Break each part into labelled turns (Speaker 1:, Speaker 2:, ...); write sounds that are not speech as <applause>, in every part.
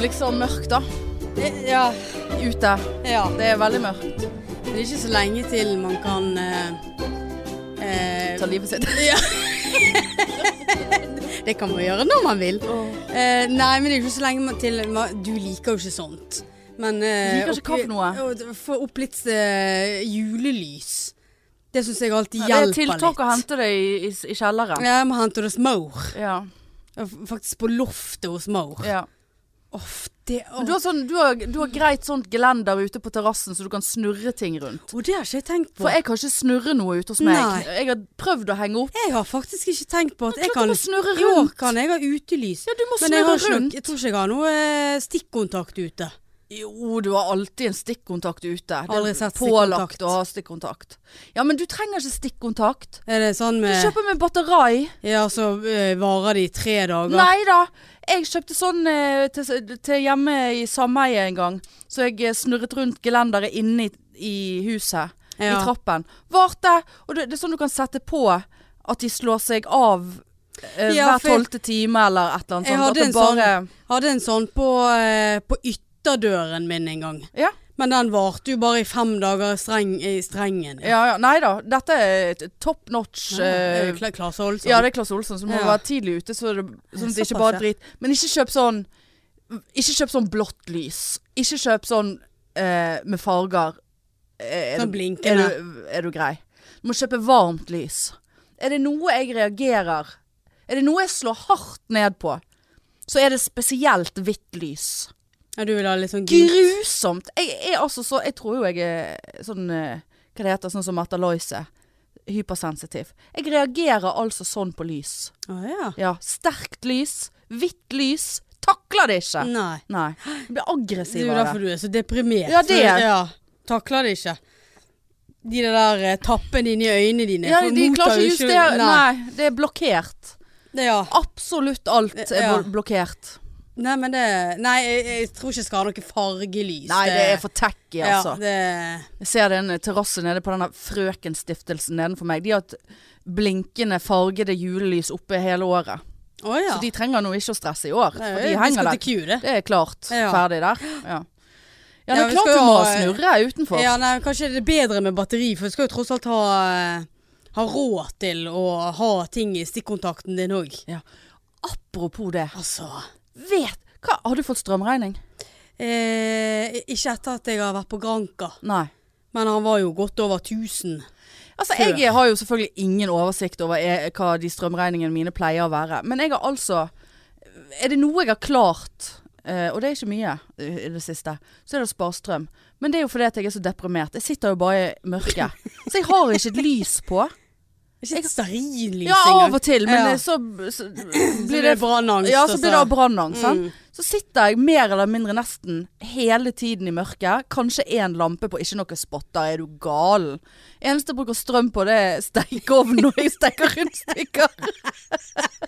Speaker 1: liksom mørkt, da. Eh,
Speaker 2: Ja,
Speaker 1: Ute.
Speaker 2: ja.
Speaker 1: Det er veldig mørkt.
Speaker 2: Det er ikke så lenge til man kan eh, eh,
Speaker 1: Ta livet sitt. <laughs>
Speaker 2: Ja. det kan man gjøre når man vil. Eh, nei, men det er jo ikke så lenge man- til man- Du liker jo ikke sånt. Men eh,
Speaker 1: Du liker ikke
Speaker 2: oppi-
Speaker 1: hva for
Speaker 2: å, Få opp litt eh, julelys. Det syns jeg alltid
Speaker 1: Ja, det er
Speaker 2: hjelper
Speaker 1: tiltak å
Speaker 2: litt.
Speaker 1: hente det i, i, i kjelleren.
Speaker 2: Ja, jeg må hente det hos Maur.
Speaker 1: Ja.
Speaker 2: Jeg var Faktisk på loftet hos Maur.
Speaker 1: ja.
Speaker 2: Off, det,
Speaker 1: Men du, har sånn, du, har, du har greit sånt gelender ute på terrassen så du kan snurre ting rundt.
Speaker 2: Å, det har ikke jeg tenkt på.
Speaker 1: For
Speaker 2: Jeg,
Speaker 1: jeg kan ikke snurre noe ute hos meg.
Speaker 2: Nei.
Speaker 1: Jeg har prøvd å henge opp.
Speaker 2: har faktisk ikke tenkt på at jeg
Speaker 1: Klart
Speaker 2: kan
Speaker 1: du må snurre
Speaker 2: I år
Speaker 1: rundt.
Speaker 2: kan jeg ha utelys.
Speaker 1: Ja, du må
Speaker 2: Men jeg,
Speaker 1: snurre
Speaker 2: har ikke, noe-
Speaker 1: rundt.
Speaker 2: jeg tror ikke jeg har noe eh, stikkontakt ute.
Speaker 1: Jo, du har alltid en stikkontakt ute. Det er
Speaker 2: Aldri sett
Speaker 1: pålagt
Speaker 2: stikkontakt.
Speaker 1: å ha stikkontakt. Ja, men du trenger ikke stikkontakt.
Speaker 2: Er det sånn
Speaker 1: Du
Speaker 2: med
Speaker 1: kjøper med batterai.
Speaker 2: Ja, så eh, varer de i tre dager.
Speaker 1: Nei da. Jeg kjøpte sånn eh, til, til hjemme i sameie en gang. Så jeg eh, snurret rundt gelenderet inne i, i huset. I
Speaker 2: Ja.
Speaker 1: trappen. Varte. Og det, det er sånn du kan sette på at de slår seg av eh,
Speaker 2: Ja,
Speaker 1: hver
Speaker 2: for-
Speaker 1: tolvte time eller et eller annet
Speaker 2: Jeg
Speaker 1: sånt.
Speaker 2: hadde
Speaker 1: At det
Speaker 2: en
Speaker 1: bare-
Speaker 2: Hadde en sånn på, eh, på ytterdøren min en gang.
Speaker 1: Ja.
Speaker 2: Men den varte jo bare i fem dager i streng, i strengen.
Speaker 1: Ja, ja. Nei da. Dette er et top notch
Speaker 2: Ja, er
Speaker 1: eh,
Speaker 2: det Kla- Klasse Olsson.
Speaker 1: Ja, det er Klass Olsson som må
Speaker 2: Ja.
Speaker 1: være tidlig ute, så det, sånn at det ikke
Speaker 2: Såpass,
Speaker 1: bare
Speaker 2: ja.
Speaker 1: er drit. Men ikke kjøp sånn Ikke kjøp sånn blått lys. Ikke kjøp sånn eh, med farger. Eh,
Speaker 2: Sånn
Speaker 1: du-
Speaker 2: blinkende.
Speaker 1: er, du, er du grei? Du må kjøpe varmt lys. Er det noe jeg reagerer Er det noe jeg slår hardt ned på, så er det spesielt hvitt lys.
Speaker 2: Ja, du vil ha litt sånn gul
Speaker 1: Grusomt! Jeg er altså så Jeg tror jo jeg er sånn eh, Hva det heter, sånn som Märtha Loise. Hypersensitiv. Jeg reagerer altså sånn på lys.
Speaker 2: Å ja.
Speaker 1: Ja, sterkt lys, hvitt lys, takler det ikke.
Speaker 2: Mm. Nei.
Speaker 1: Nei, jeg blir
Speaker 2: Det er
Speaker 1: aggressiv
Speaker 2: jo
Speaker 1: av
Speaker 2: derfor
Speaker 1: det.
Speaker 2: du er så deprimert.
Speaker 1: Ja, det er-
Speaker 2: Ja, takler det ikke. De der eh, tappene inni øynene dine.
Speaker 1: Ja,
Speaker 2: for
Speaker 1: de
Speaker 2: mottar
Speaker 1: klarer
Speaker 2: jo
Speaker 1: ikke å justere
Speaker 2: Nei.
Speaker 1: Nei, det er blokkert.
Speaker 2: Det, ja.
Speaker 1: Absolutt alt er
Speaker 2: Ja.
Speaker 1: bl- blokkert.
Speaker 2: Nei, men det Nei, jeg, jeg tror ikke jeg skal ha noe fargelys.
Speaker 1: Nei, det er for tacky,
Speaker 2: Ja,
Speaker 1: altså.
Speaker 2: det
Speaker 1: Jeg ser det er en terrasse nede på denne Frøkenstiftelsen nedenfor meg. De har et blinkende fargede julelys oppe hele året.
Speaker 2: Å ja.
Speaker 1: Så de trenger nå ikke å stresse i år.
Speaker 2: Nei,
Speaker 1: For de
Speaker 2: vi
Speaker 1: henger
Speaker 2: skal
Speaker 1: der.
Speaker 2: til Q, det.
Speaker 1: Det er klart.
Speaker 2: Ja.
Speaker 1: Ferdig der. Ja, ja det
Speaker 2: Ja,
Speaker 1: er
Speaker 2: vi
Speaker 1: klart
Speaker 2: skal
Speaker 1: du
Speaker 2: jo ha-
Speaker 1: må snurre utenfor.
Speaker 2: Ja, nei, kanskje det er bedre med batteri, for du skal jo tross alt ha, eh, ha råd til å ha ting i stikkontakten din òg.
Speaker 1: Apropos det.
Speaker 2: Altså
Speaker 1: Vet hva? Har du fått strømregning?
Speaker 2: eh, Ikke etter at jeg har vært på Granka,
Speaker 1: Nei.
Speaker 2: men han var jo godt over 1000.
Speaker 1: Altså,
Speaker 2: Før.
Speaker 1: jeg har jo selvfølgelig ingen oversikt over e hva de strømregningene mine pleier å være. Men jeg har altså Er det noe jeg har klart, eh, og det er ikke mye i i det siste, så er det å spare strøm. Men det er jo fordi at jeg er så deprimert. Jeg sitter jo bare i mørket.
Speaker 2: <laughs>
Speaker 1: Så jeg har ikke et lys på.
Speaker 2: Ikke et stearinlys
Speaker 1: Ja, av og til, men
Speaker 2: Ja.
Speaker 1: eh, så,
Speaker 2: <clears throat> Så
Speaker 1: så blir
Speaker 2: blir det
Speaker 1: det
Speaker 2: brannangst.
Speaker 1: ja, så blir det av
Speaker 2: og
Speaker 1: brannangst. sant?
Speaker 2: Mm.
Speaker 1: Så sitter jeg mer eller mindre nesten hele tiden i mørket. Kanskje én lampe på, ikke noe spotter. Er du gal? Eneste jeg bruker strøm på, det er stekeovn når jeg steker rundstykker.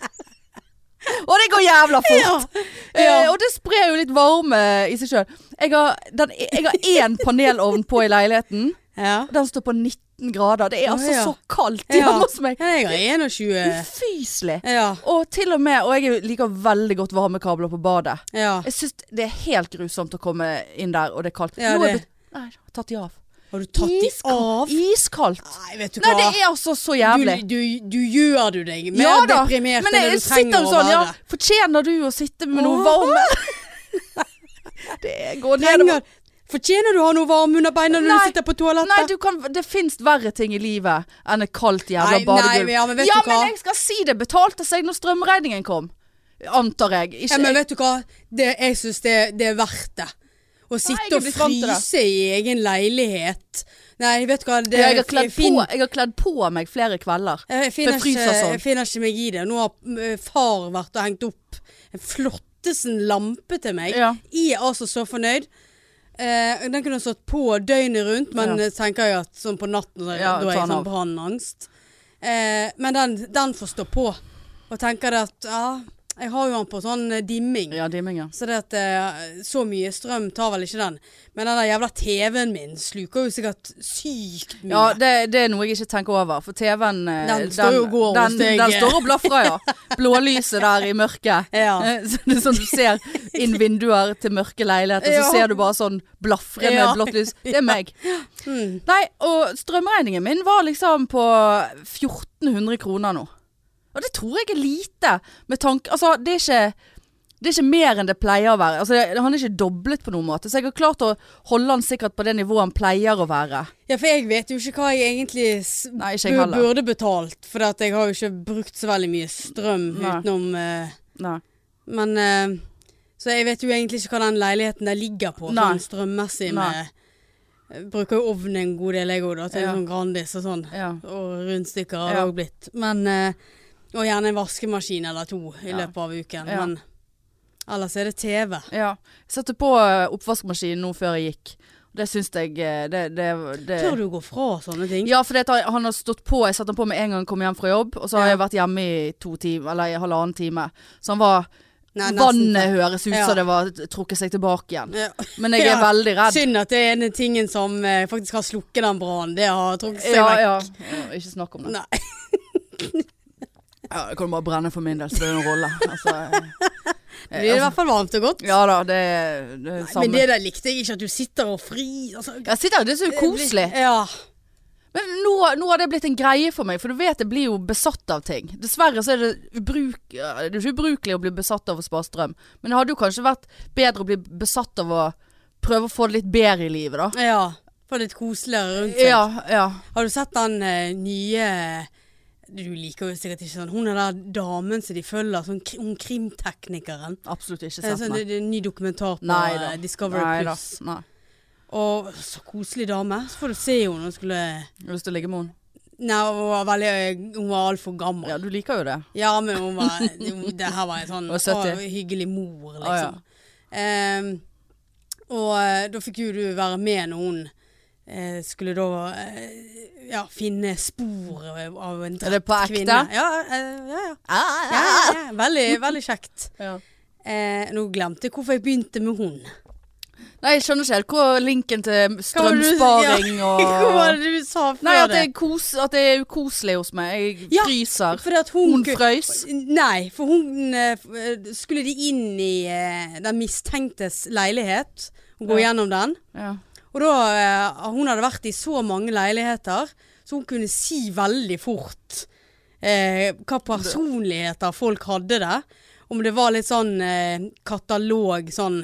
Speaker 1: og det går jævla fort!
Speaker 2: <laughs> Ja.
Speaker 1: Eh, og det sprer jo litt varme i seg sjøl. Jeg har den- jeg har én panelovn på i leiligheten.
Speaker 2: ja.
Speaker 1: <laughs> Den står på 19 grader. Det
Speaker 2: Å,
Speaker 1: er altså
Speaker 2: ja.
Speaker 1: så kaldt
Speaker 2: Ja. Eh.
Speaker 1: hjemme hos meg.
Speaker 2: Ja, Jeg har 21.
Speaker 1: Ufyselig.
Speaker 2: Ja.
Speaker 1: Og til og med, og jeg liker veldig godt varmekabler på badet.
Speaker 2: ja.
Speaker 1: Jeg syns det er helt grusomt å komme inn der, og det er kaldt.
Speaker 2: Ja,
Speaker 1: Nå er
Speaker 2: det-
Speaker 1: jeg blitt- Nei, tatt de av.
Speaker 2: Har du tatt de av?
Speaker 1: Iskaldt.
Speaker 2: Nei, vet du
Speaker 1: Nei,
Speaker 2: hva.
Speaker 1: det er altså så jævlig.
Speaker 2: Du, du, du gjør du deg mer
Speaker 1: Ja da,
Speaker 2: deprimert enn
Speaker 1: Men
Speaker 2: det
Speaker 1: jeg
Speaker 2: du
Speaker 1: sitter
Speaker 2: trenger
Speaker 1: jo
Speaker 2: å
Speaker 1: sånn, ja.
Speaker 2: være.
Speaker 1: Fortjener du å sitte med noe
Speaker 2: Åh.
Speaker 1: varme?
Speaker 2: <laughs>
Speaker 1: det går nedover.
Speaker 2: Trenger, fortjener du å ha noe varme under beina når
Speaker 1: Nei.
Speaker 2: du sitter på
Speaker 1: Nei,
Speaker 2: toalettet?
Speaker 1: du kan, det fins verre ting i livet enn et kaldt jævla
Speaker 2: Nei, nei,
Speaker 1: badegulv.
Speaker 2: men ja, men vet du hva?
Speaker 1: men jeg skal si det betalte seg når strømregningen kom. Antar jeg. Ikke,
Speaker 2: ja, men vet du hva? Det, jeg syns det, det er verdt det. Å
Speaker 1: Nei,
Speaker 2: sitte
Speaker 1: jeg
Speaker 2: og
Speaker 1: blir vant til det.
Speaker 2: fryse i egen leilighet. Nei, vet du hva? Det,
Speaker 1: ja, jeg, har kledd
Speaker 2: fin-
Speaker 1: på, jeg har kledd på meg flere kvelder.
Speaker 2: Jeg finner,
Speaker 1: Det fryser
Speaker 2: ikke,
Speaker 1: sånn.
Speaker 2: jeg finner ikke meg i det. Nå har mm, far vært og hengt opp en flottesen lampe til meg.
Speaker 1: Ja.
Speaker 2: Jeg er altså så fornøyd. Eh, den kunne stått på døgnet rundt, men
Speaker 1: Ja.
Speaker 2: eh, tenker jeg at sånn på natten da,
Speaker 1: Ja,
Speaker 2: da er
Speaker 1: ta
Speaker 2: jeg
Speaker 1: den av.
Speaker 2: sånn brannangst. Eh, men den, den får stå på. Og tenker det at ja, Jeg har jo den på sånn eh, dimming.
Speaker 1: Ja, dimming, ja.
Speaker 2: Så det at eh, så mye strøm tar vel ikke den. Men den der jævla TV-en min sluker jo sikkert sykt mye.
Speaker 1: Ja, det, det er noe jeg ikke tenker over. For TV-en eh,
Speaker 2: Den står jo og går hos
Speaker 1: den,
Speaker 2: deg.
Speaker 1: den står og blafrer, ja. Blålyset der i mørket.
Speaker 2: Ja.
Speaker 1: Eh, Så det er sånn du ser
Speaker 2: <laughs>
Speaker 1: inn vinduer til mørke leiligheter,
Speaker 2: Ja.
Speaker 1: så ser du bare sånn blafrende
Speaker 2: Ja.
Speaker 1: blått lys. Det er meg.
Speaker 2: <laughs> Mm.
Speaker 1: Nei, og strømregningen min var liksom på 1400 kroner nå. Og det tror jeg er lite med tanke Altså, det er ikke det er ikke mer enn det pleier å være. Altså, det- Han er ikke doblet på noen måte. Så jeg har klart å holde han sikkert på det nivået han pleier å være.
Speaker 2: ja, for jeg vet jo ikke hva jeg egentlig s-
Speaker 1: Nei, ikke jeg
Speaker 2: bu-
Speaker 1: heller.
Speaker 2: burde betalt. For at jeg har jo ikke brukt så veldig mye strøm
Speaker 1: Nei.
Speaker 2: utenom eh,
Speaker 1: Nei.
Speaker 2: Men eh, Så jeg vet jo egentlig ikke hva den leiligheten der ligger på,
Speaker 1: Nei.
Speaker 2: sånn strømmessig
Speaker 1: Nei.
Speaker 2: med jeg Bruker jo ovnen en god del, jeg òg, da. Til
Speaker 1: Ja.
Speaker 2: sånn Grandis og sånn.
Speaker 1: Ja.
Speaker 2: Og rundstykker har det
Speaker 1: Ja.
Speaker 2: òg blitt. Men eh, Og gjerne en vaskemaskin eller to i
Speaker 1: Ja.
Speaker 2: løpet av uken.
Speaker 1: Ja.
Speaker 2: Men ellers er det TV.
Speaker 1: ja. Jeg satte på eh, oppvaskmaskinen nå før jeg gikk. Det syns jeg eh, det, det, det
Speaker 2: Tør du å gå fra sånne ting?
Speaker 1: Ja, for det, at han har stått på. Jeg satte han på med en gang jeg kom hjem fra jobb. Og så har
Speaker 2: Ja.
Speaker 1: jeg vært hjemme i to timer, eller i halvannen time. Så han var
Speaker 2: Nei, nesten
Speaker 1: Vannet høres ut
Speaker 2: Ja.
Speaker 1: som det var trukket seg tilbake igjen.
Speaker 2: Ja.
Speaker 1: Men jeg er
Speaker 2: Ja.
Speaker 1: veldig redd.
Speaker 2: Synd at det er den tingen som eh, faktisk har slukket den brannen. Det har trukket seg
Speaker 1: Ja,
Speaker 2: vekk.
Speaker 1: ja. Ikke snakk om det.
Speaker 2: Nei.
Speaker 1: Ja, det kan bare brenne for min del, så det er jo en <laughs> rolle. Altså,
Speaker 2: Det blir i hvert fall varmt og godt.
Speaker 1: ja da, det er det er
Speaker 2: Men
Speaker 1: samme.
Speaker 2: det der likte jeg ikke, at du sitter og fri altså,
Speaker 1: Jeg sitter, det er så koselig.
Speaker 2: Ja.
Speaker 1: Men nå, nå har det blitt en greie for meg, for du vet jeg blir jo besatt av ting. Dessverre så er det, ubruk, ja, det er jo ikke ubrukelig å bli besatt av å spare strøm. Men det hadde jo kanskje vært bedre å bli besatt av å prøve å få det litt bedre i livet, da.
Speaker 2: ja. Få litt koseligere rundt seg.
Speaker 1: Ja, ja.
Speaker 2: Har du sett den eh, nye Du liker jo sikkert ikke sånn. Hun er der damen som de følger, sånn, kri- hun krimteknikeren.
Speaker 1: Absolutt
Speaker 2: Det
Speaker 1: ikke
Speaker 2: er,
Speaker 1: sett
Speaker 2: sånn, det
Speaker 1: meg.
Speaker 2: er en ny dokumentar på
Speaker 1: Nei da.
Speaker 2: eh, Discovery
Speaker 1: Nei da.
Speaker 2: Plus.
Speaker 1: Nei.
Speaker 2: Og så koselig dame. Så får du se henne. Hun skulle
Speaker 1: Har du lyst til å ligge med henne?
Speaker 2: Nei, hun var veldig eh, Hun var altfor gammel.
Speaker 1: Ja, du liker jo det.
Speaker 2: Ja, men hun var hun- Det her var en sånn
Speaker 1: Hun var 70.
Speaker 2: å, hyggelig mor, liksom.
Speaker 1: Å, ja.
Speaker 2: Ehm, og eh, da fikk jo du være med når hun eh, skulle da eh, ja, finne spor av av en
Speaker 1: Er det
Speaker 2: drept
Speaker 1: på ekte?
Speaker 2: kvinne. Ja, eh, ja, ja. ja, ja, ja. Veldig,
Speaker 1: <laughs>
Speaker 2: veldig kjekt.
Speaker 1: Ja.
Speaker 2: Eh, nå glemte jeg hvorfor jeg begynte med hun.
Speaker 1: Nei, jeg skjønner ikke helt hvor linken til
Speaker 2: var det du-
Speaker 1: strømsparing
Speaker 2: <laughs> Hva var
Speaker 1: og
Speaker 2: det du sa før
Speaker 1: Nei, at det
Speaker 2: det?
Speaker 1: er, kos, at det er ukoselig hos meg. Jeg
Speaker 2: Ja,
Speaker 1: fryser.
Speaker 2: Fordi at hun,
Speaker 1: Hun
Speaker 2: ku-
Speaker 1: frøys.
Speaker 2: Nei, for hun eh, f- eh, skulle de inn i eh, den mistenktes leilighet og gå
Speaker 1: Ja.
Speaker 2: gjennom den.
Speaker 1: Ja.
Speaker 2: Og da, eh, hun hadde vært i så mange leiligheter, så hun kunne si veldig fort eh, hva personligheter folk hadde der. Om det var litt sånn eh, katalog, sånn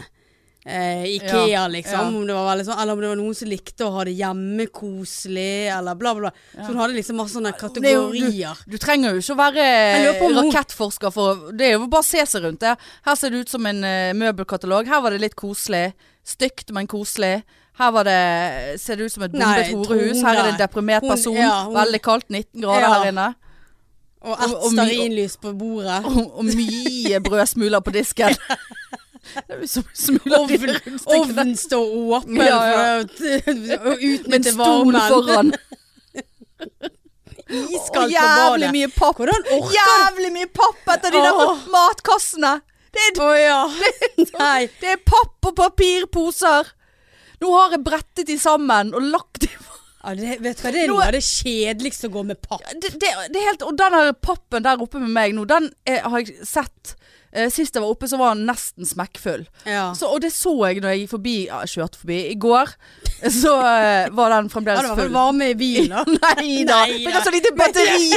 Speaker 2: eh, Ikea,
Speaker 1: Ja,
Speaker 2: liksom. Om det var veldig sånn, eller om det var noen som likte å ha det hjemmekoselig, eller bla, bla. bla. Så hun hadde liksom masse sånne
Speaker 1: Det er jo-
Speaker 2: kategorier.
Speaker 1: Du trenger jo ikke å være
Speaker 2: lurer på om hun-
Speaker 1: rakettforsker for å- Det er jo bare å se seg rundt. Det. Her ser det ut som en eh, møbelkatalog. Her var det litt koselig. Stygt, men koselig. Her var det, ser det ut som et
Speaker 2: Nei,
Speaker 1: bombet
Speaker 2: jeg tror
Speaker 1: horehus.
Speaker 2: hun
Speaker 1: Her er det
Speaker 2: er-
Speaker 1: en deprimert
Speaker 2: hun-
Speaker 1: person.
Speaker 2: ja, hun-
Speaker 1: Veldig kaldt, 19 grader
Speaker 2: Ja.
Speaker 1: her inne.
Speaker 2: Og
Speaker 1: og-
Speaker 2: ett
Speaker 1: og mye-
Speaker 2: stearinlys på bordet.
Speaker 1: Og, og mye brødsmuler
Speaker 2: <laughs>
Speaker 1: på disken. Det er jo som smuler de
Speaker 2: Ovn-
Speaker 1: rundstykkene.
Speaker 2: Ovnen står åpen
Speaker 1: Ja, ja.
Speaker 2: for å <laughs>
Speaker 1: Med en
Speaker 2: utnytte
Speaker 1: stol
Speaker 2: varmen. <laughs>
Speaker 1: foran. Og
Speaker 2: Iskaldt på
Speaker 1: jævlig
Speaker 2: badet.
Speaker 1: mye papp.
Speaker 2: Hvordan orker
Speaker 1: Jævlig mye papp etter de der
Speaker 2: Åh.
Speaker 1: matkassene. Det er,
Speaker 2: Å ja. Nei.
Speaker 1: det er papp og papirposer. Nå har jeg brettet de sammen og lagt de
Speaker 2: Ja, det, vet du hva, det er
Speaker 1: Nå-
Speaker 2: noe av det kjedeligste å gå med papp.
Speaker 1: det, det, det er helt, Og den her pappen der oppe med meg nå, den eh, har jeg sett. Eh, sist jeg var oppe, så var den nesten smekkfull.
Speaker 2: Ja.
Speaker 1: Så, og det så jeg når jeg gikk forbi, ja, jeg kjørte forbi i går. <laughs> Så eh, var
Speaker 2: Ja,
Speaker 1: den fremdeles
Speaker 2: det var vel
Speaker 1: full.
Speaker 2: varme i bilen, da.
Speaker 1: <laughs> Nei da.
Speaker 2: Nei
Speaker 1: Jeg
Speaker 2: da.
Speaker 1: har så lite batteri.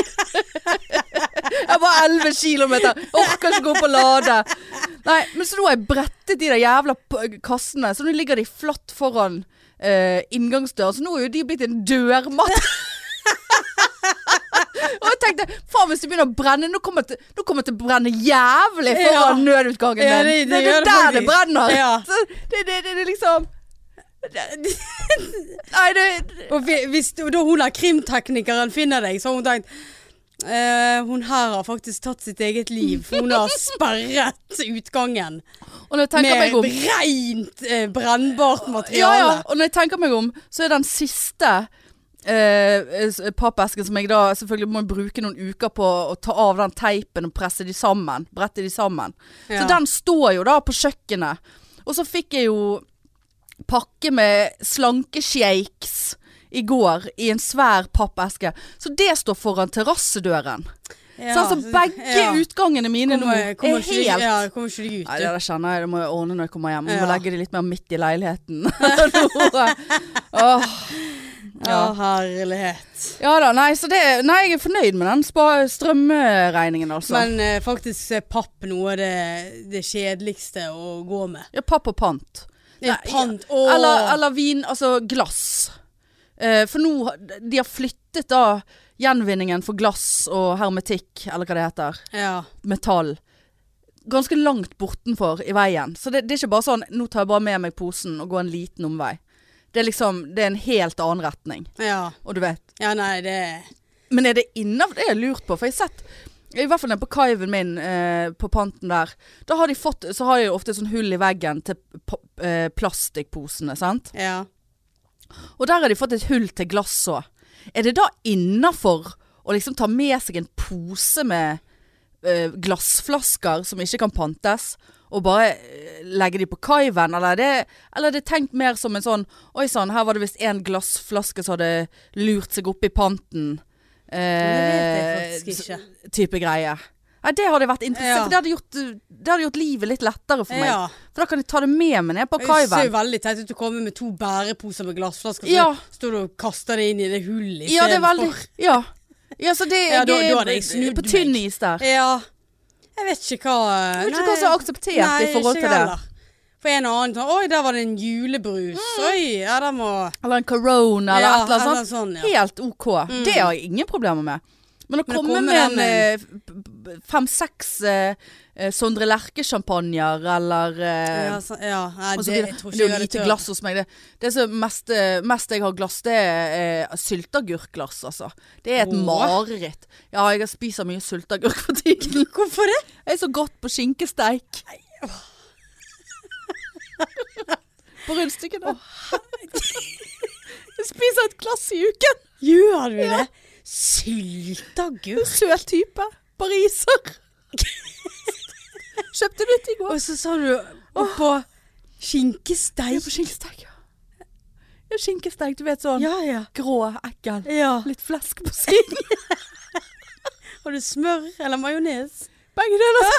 Speaker 2: <laughs>
Speaker 1: Jeg var 11 kilometer. Orker ikke gå på lade. Nei, men så nå har jeg brettet de der jævla p- kassene, så nå ligger de flatt foran eh, inngangsdøren. Så nå er jo de blitt en dørmatt.
Speaker 2: <laughs>
Speaker 1: Og jeg tenkte, faen hvis det begynner å brenne, nå kommer det, nå kommer det til å brenne jævlig foran nødutgangen
Speaker 2: Ja, det-
Speaker 1: min.
Speaker 2: det
Speaker 1: det,
Speaker 2: gjør
Speaker 1: er
Speaker 2: det
Speaker 1: der det
Speaker 2: faktisk.
Speaker 1: brenner.
Speaker 2: Ja.
Speaker 1: <laughs> Så Det, det, det, det er liksom Nei, det
Speaker 2: Og vi- hvis og da hun der krimteknikeren finner deg, så har hun tenkt eh, Hun her har faktisk tatt sitt eget liv. for Hun
Speaker 1: <laughs>
Speaker 2: har sperret utgangen
Speaker 1: Og når jeg tenker
Speaker 2: med
Speaker 1: meg om
Speaker 2: rent eh, brennbart
Speaker 1: Ja, ja.
Speaker 2: materiale.
Speaker 1: Og når jeg tenker meg om, så er den siste eh, s- pappesken som jeg da selvfølgelig må bruke noen uker på å ta av den teipen og presse de sammen. Brette de sammen. Så
Speaker 2: Ja.
Speaker 1: den står jo da på kjøkkenet. Og så fikk jeg jo pakke med slankeshakes i går i en svær pappeske. Så det står foran terrassedøren.
Speaker 2: Ja,
Speaker 1: så altså begge
Speaker 2: ja.
Speaker 1: utgangene mine
Speaker 2: Kommer-
Speaker 1: nå
Speaker 2: kommer
Speaker 1: er
Speaker 2: ikke du-
Speaker 1: helt
Speaker 2: Ja, kommer ikke du ut.
Speaker 1: Nei,
Speaker 2: du.
Speaker 1: det der kjenner jeg. Det må jeg ordne når jeg kommer hjem. Jeg må
Speaker 2: Ja.
Speaker 1: legge det litt mer midt i leiligheten. <laughs> Nå, eh, åh.
Speaker 2: ja,
Speaker 1: ja.
Speaker 2: herlighet.
Speaker 1: ja da, nei, så det, nei, jeg er fornøyd med den spa- strømregningen, altså.
Speaker 2: Men eh, faktisk så er papp noe av det, det kjedeligste å gå med.
Speaker 1: ja, papp og pant.
Speaker 2: Det
Speaker 1: Nei,
Speaker 2: er pant. Åh!
Speaker 1: Eller, eller vin, altså glass. Eh, for nå har- De har flyttet da gjenvinningen for glass og hermetikk, eller hva det heter.
Speaker 2: ja.
Speaker 1: Metall. Ganske langt bortenfor i veien. Så det, det er ikke bare sånn 'nå tar jeg bare med meg posen og går en liten omvei'. Det er liksom Det er en helt annen retning.
Speaker 2: ja.
Speaker 1: Og du vet
Speaker 2: Ja, nei, det
Speaker 1: Men er det innav Det har jeg lurt på, for jeg har sett i hvert fall nede på kaiven min, eh, på panten der. Da har de fått Så har de ofte et sånn hull i veggen til pa- eh, plastikkposene, sant.
Speaker 2: Ja.
Speaker 1: Og der har de fått et hull til glass òg. Er det da innafor å liksom ta med seg en pose med eh, glassflasker som ikke kan pantes, og bare eh, legge de på kaiven, eller er det, eller er det tenkt mer som en sånn Oi sann, her var det visst én glassflaske som hadde lurt seg opp i panten.
Speaker 2: Det vet jeg faktisk
Speaker 1: eh,
Speaker 2: ikke.
Speaker 1: type greie. Nei, det hadde vært interessant.
Speaker 2: Ja.
Speaker 1: for Det, hadde gjort, eh, det hadde gjort livet litt lettere for meg.
Speaker 2: Ja.
Speaker 1: For da kan jeg ta det med meg ned på
Speaker 2: Det ser jo
Speaker 1: kaiven.
Speaker 2: veldig teit ut å komme med to bæreposer med glassflasker, så
Speaker 1: Ja.
Speaker 2: står du og kaster det inn i det hullet
Speaker 1: Ja, det er veldig Ja. Ja, så det,
Speaker 2: Ja, da-
Speaker 1: jeg er
Speaker 2: da hadde jeg snudd
Speaker 1: på tynn
Speaker 2: meg.
Speaker 1: is der.
Speaker 2: Ja. Jeg vet ikke hva
Speaker 1: Jeg vet ikke hva som er akseptert i forhold til det.
Speaker 2: For en og annen sånn Oi, der var det en julebrus.
Speaker 1: Mm.
Speaker 2: Oi, ja, den må
Speaker 1: Eller en corona, eller
Speaker 2: ja,
Speaker 1: et eller annet sånt.
Speaker 2: sånn, ja. Mm.
Speaker 1: Helt OK. Det har jeg ingen problemer med. Men å
Speaker 2: Men å
Speaker 1: komme
Speaker 2: komme
Speaker 1: med en
Speaker 2: den-
Speaker 1: eh, b- b- fem-seks eh, eh, Sondre Lerche-sjampanjer eller eh,
Speaker 2: Ja, så, ja. Nei,
Speaker 1: og så
Speaker 2: det, jeg
Speaker 1: blir det,
Speaker 2: tror ikke
Speaker 1: det er
Speaker 2: jeg
Speaker 1: jo
Speaker 2: hadde
Speaker 1: lite
Speaker 2: tørt.
Speaker 1: glass hos meg. Det, det som mest, eh, mest jeg har glass, det er eh, sylteagurkglass, altså. Det er et
Speaker 2: Åh.
Speaker 1: mareritt. Ja, jeg spiser mye sylteagurk for tiden.
Speaker 2: <laughs> Hvorfor det?
Speaker 1: Jeg er så godt på skinkesteik. <laughs> på rundstykkene. jeg spiser et glass i uken.
Speaker 2: Gjør du det? Sylteagurk?
Speaker 1: Søt type. <laughs> Pariser. Kjøpte nytt i går.
Speaker 2: Og så sa du oppå
Speaker 1: Jeg er
Speaker 2: skinkesteik.
Speaker 1: på skinkesteik. ja. Ja, skinkesteik, du vet sånn
Speaker 2: Ja, ja.
Speaker 1: grå, ekkel.
Speaker 2: ja.
Speaker 1: Litt flesk på siden.
Speaker 2: Har du smør eller majones?
Speaker 1: <laughs> Begge deler.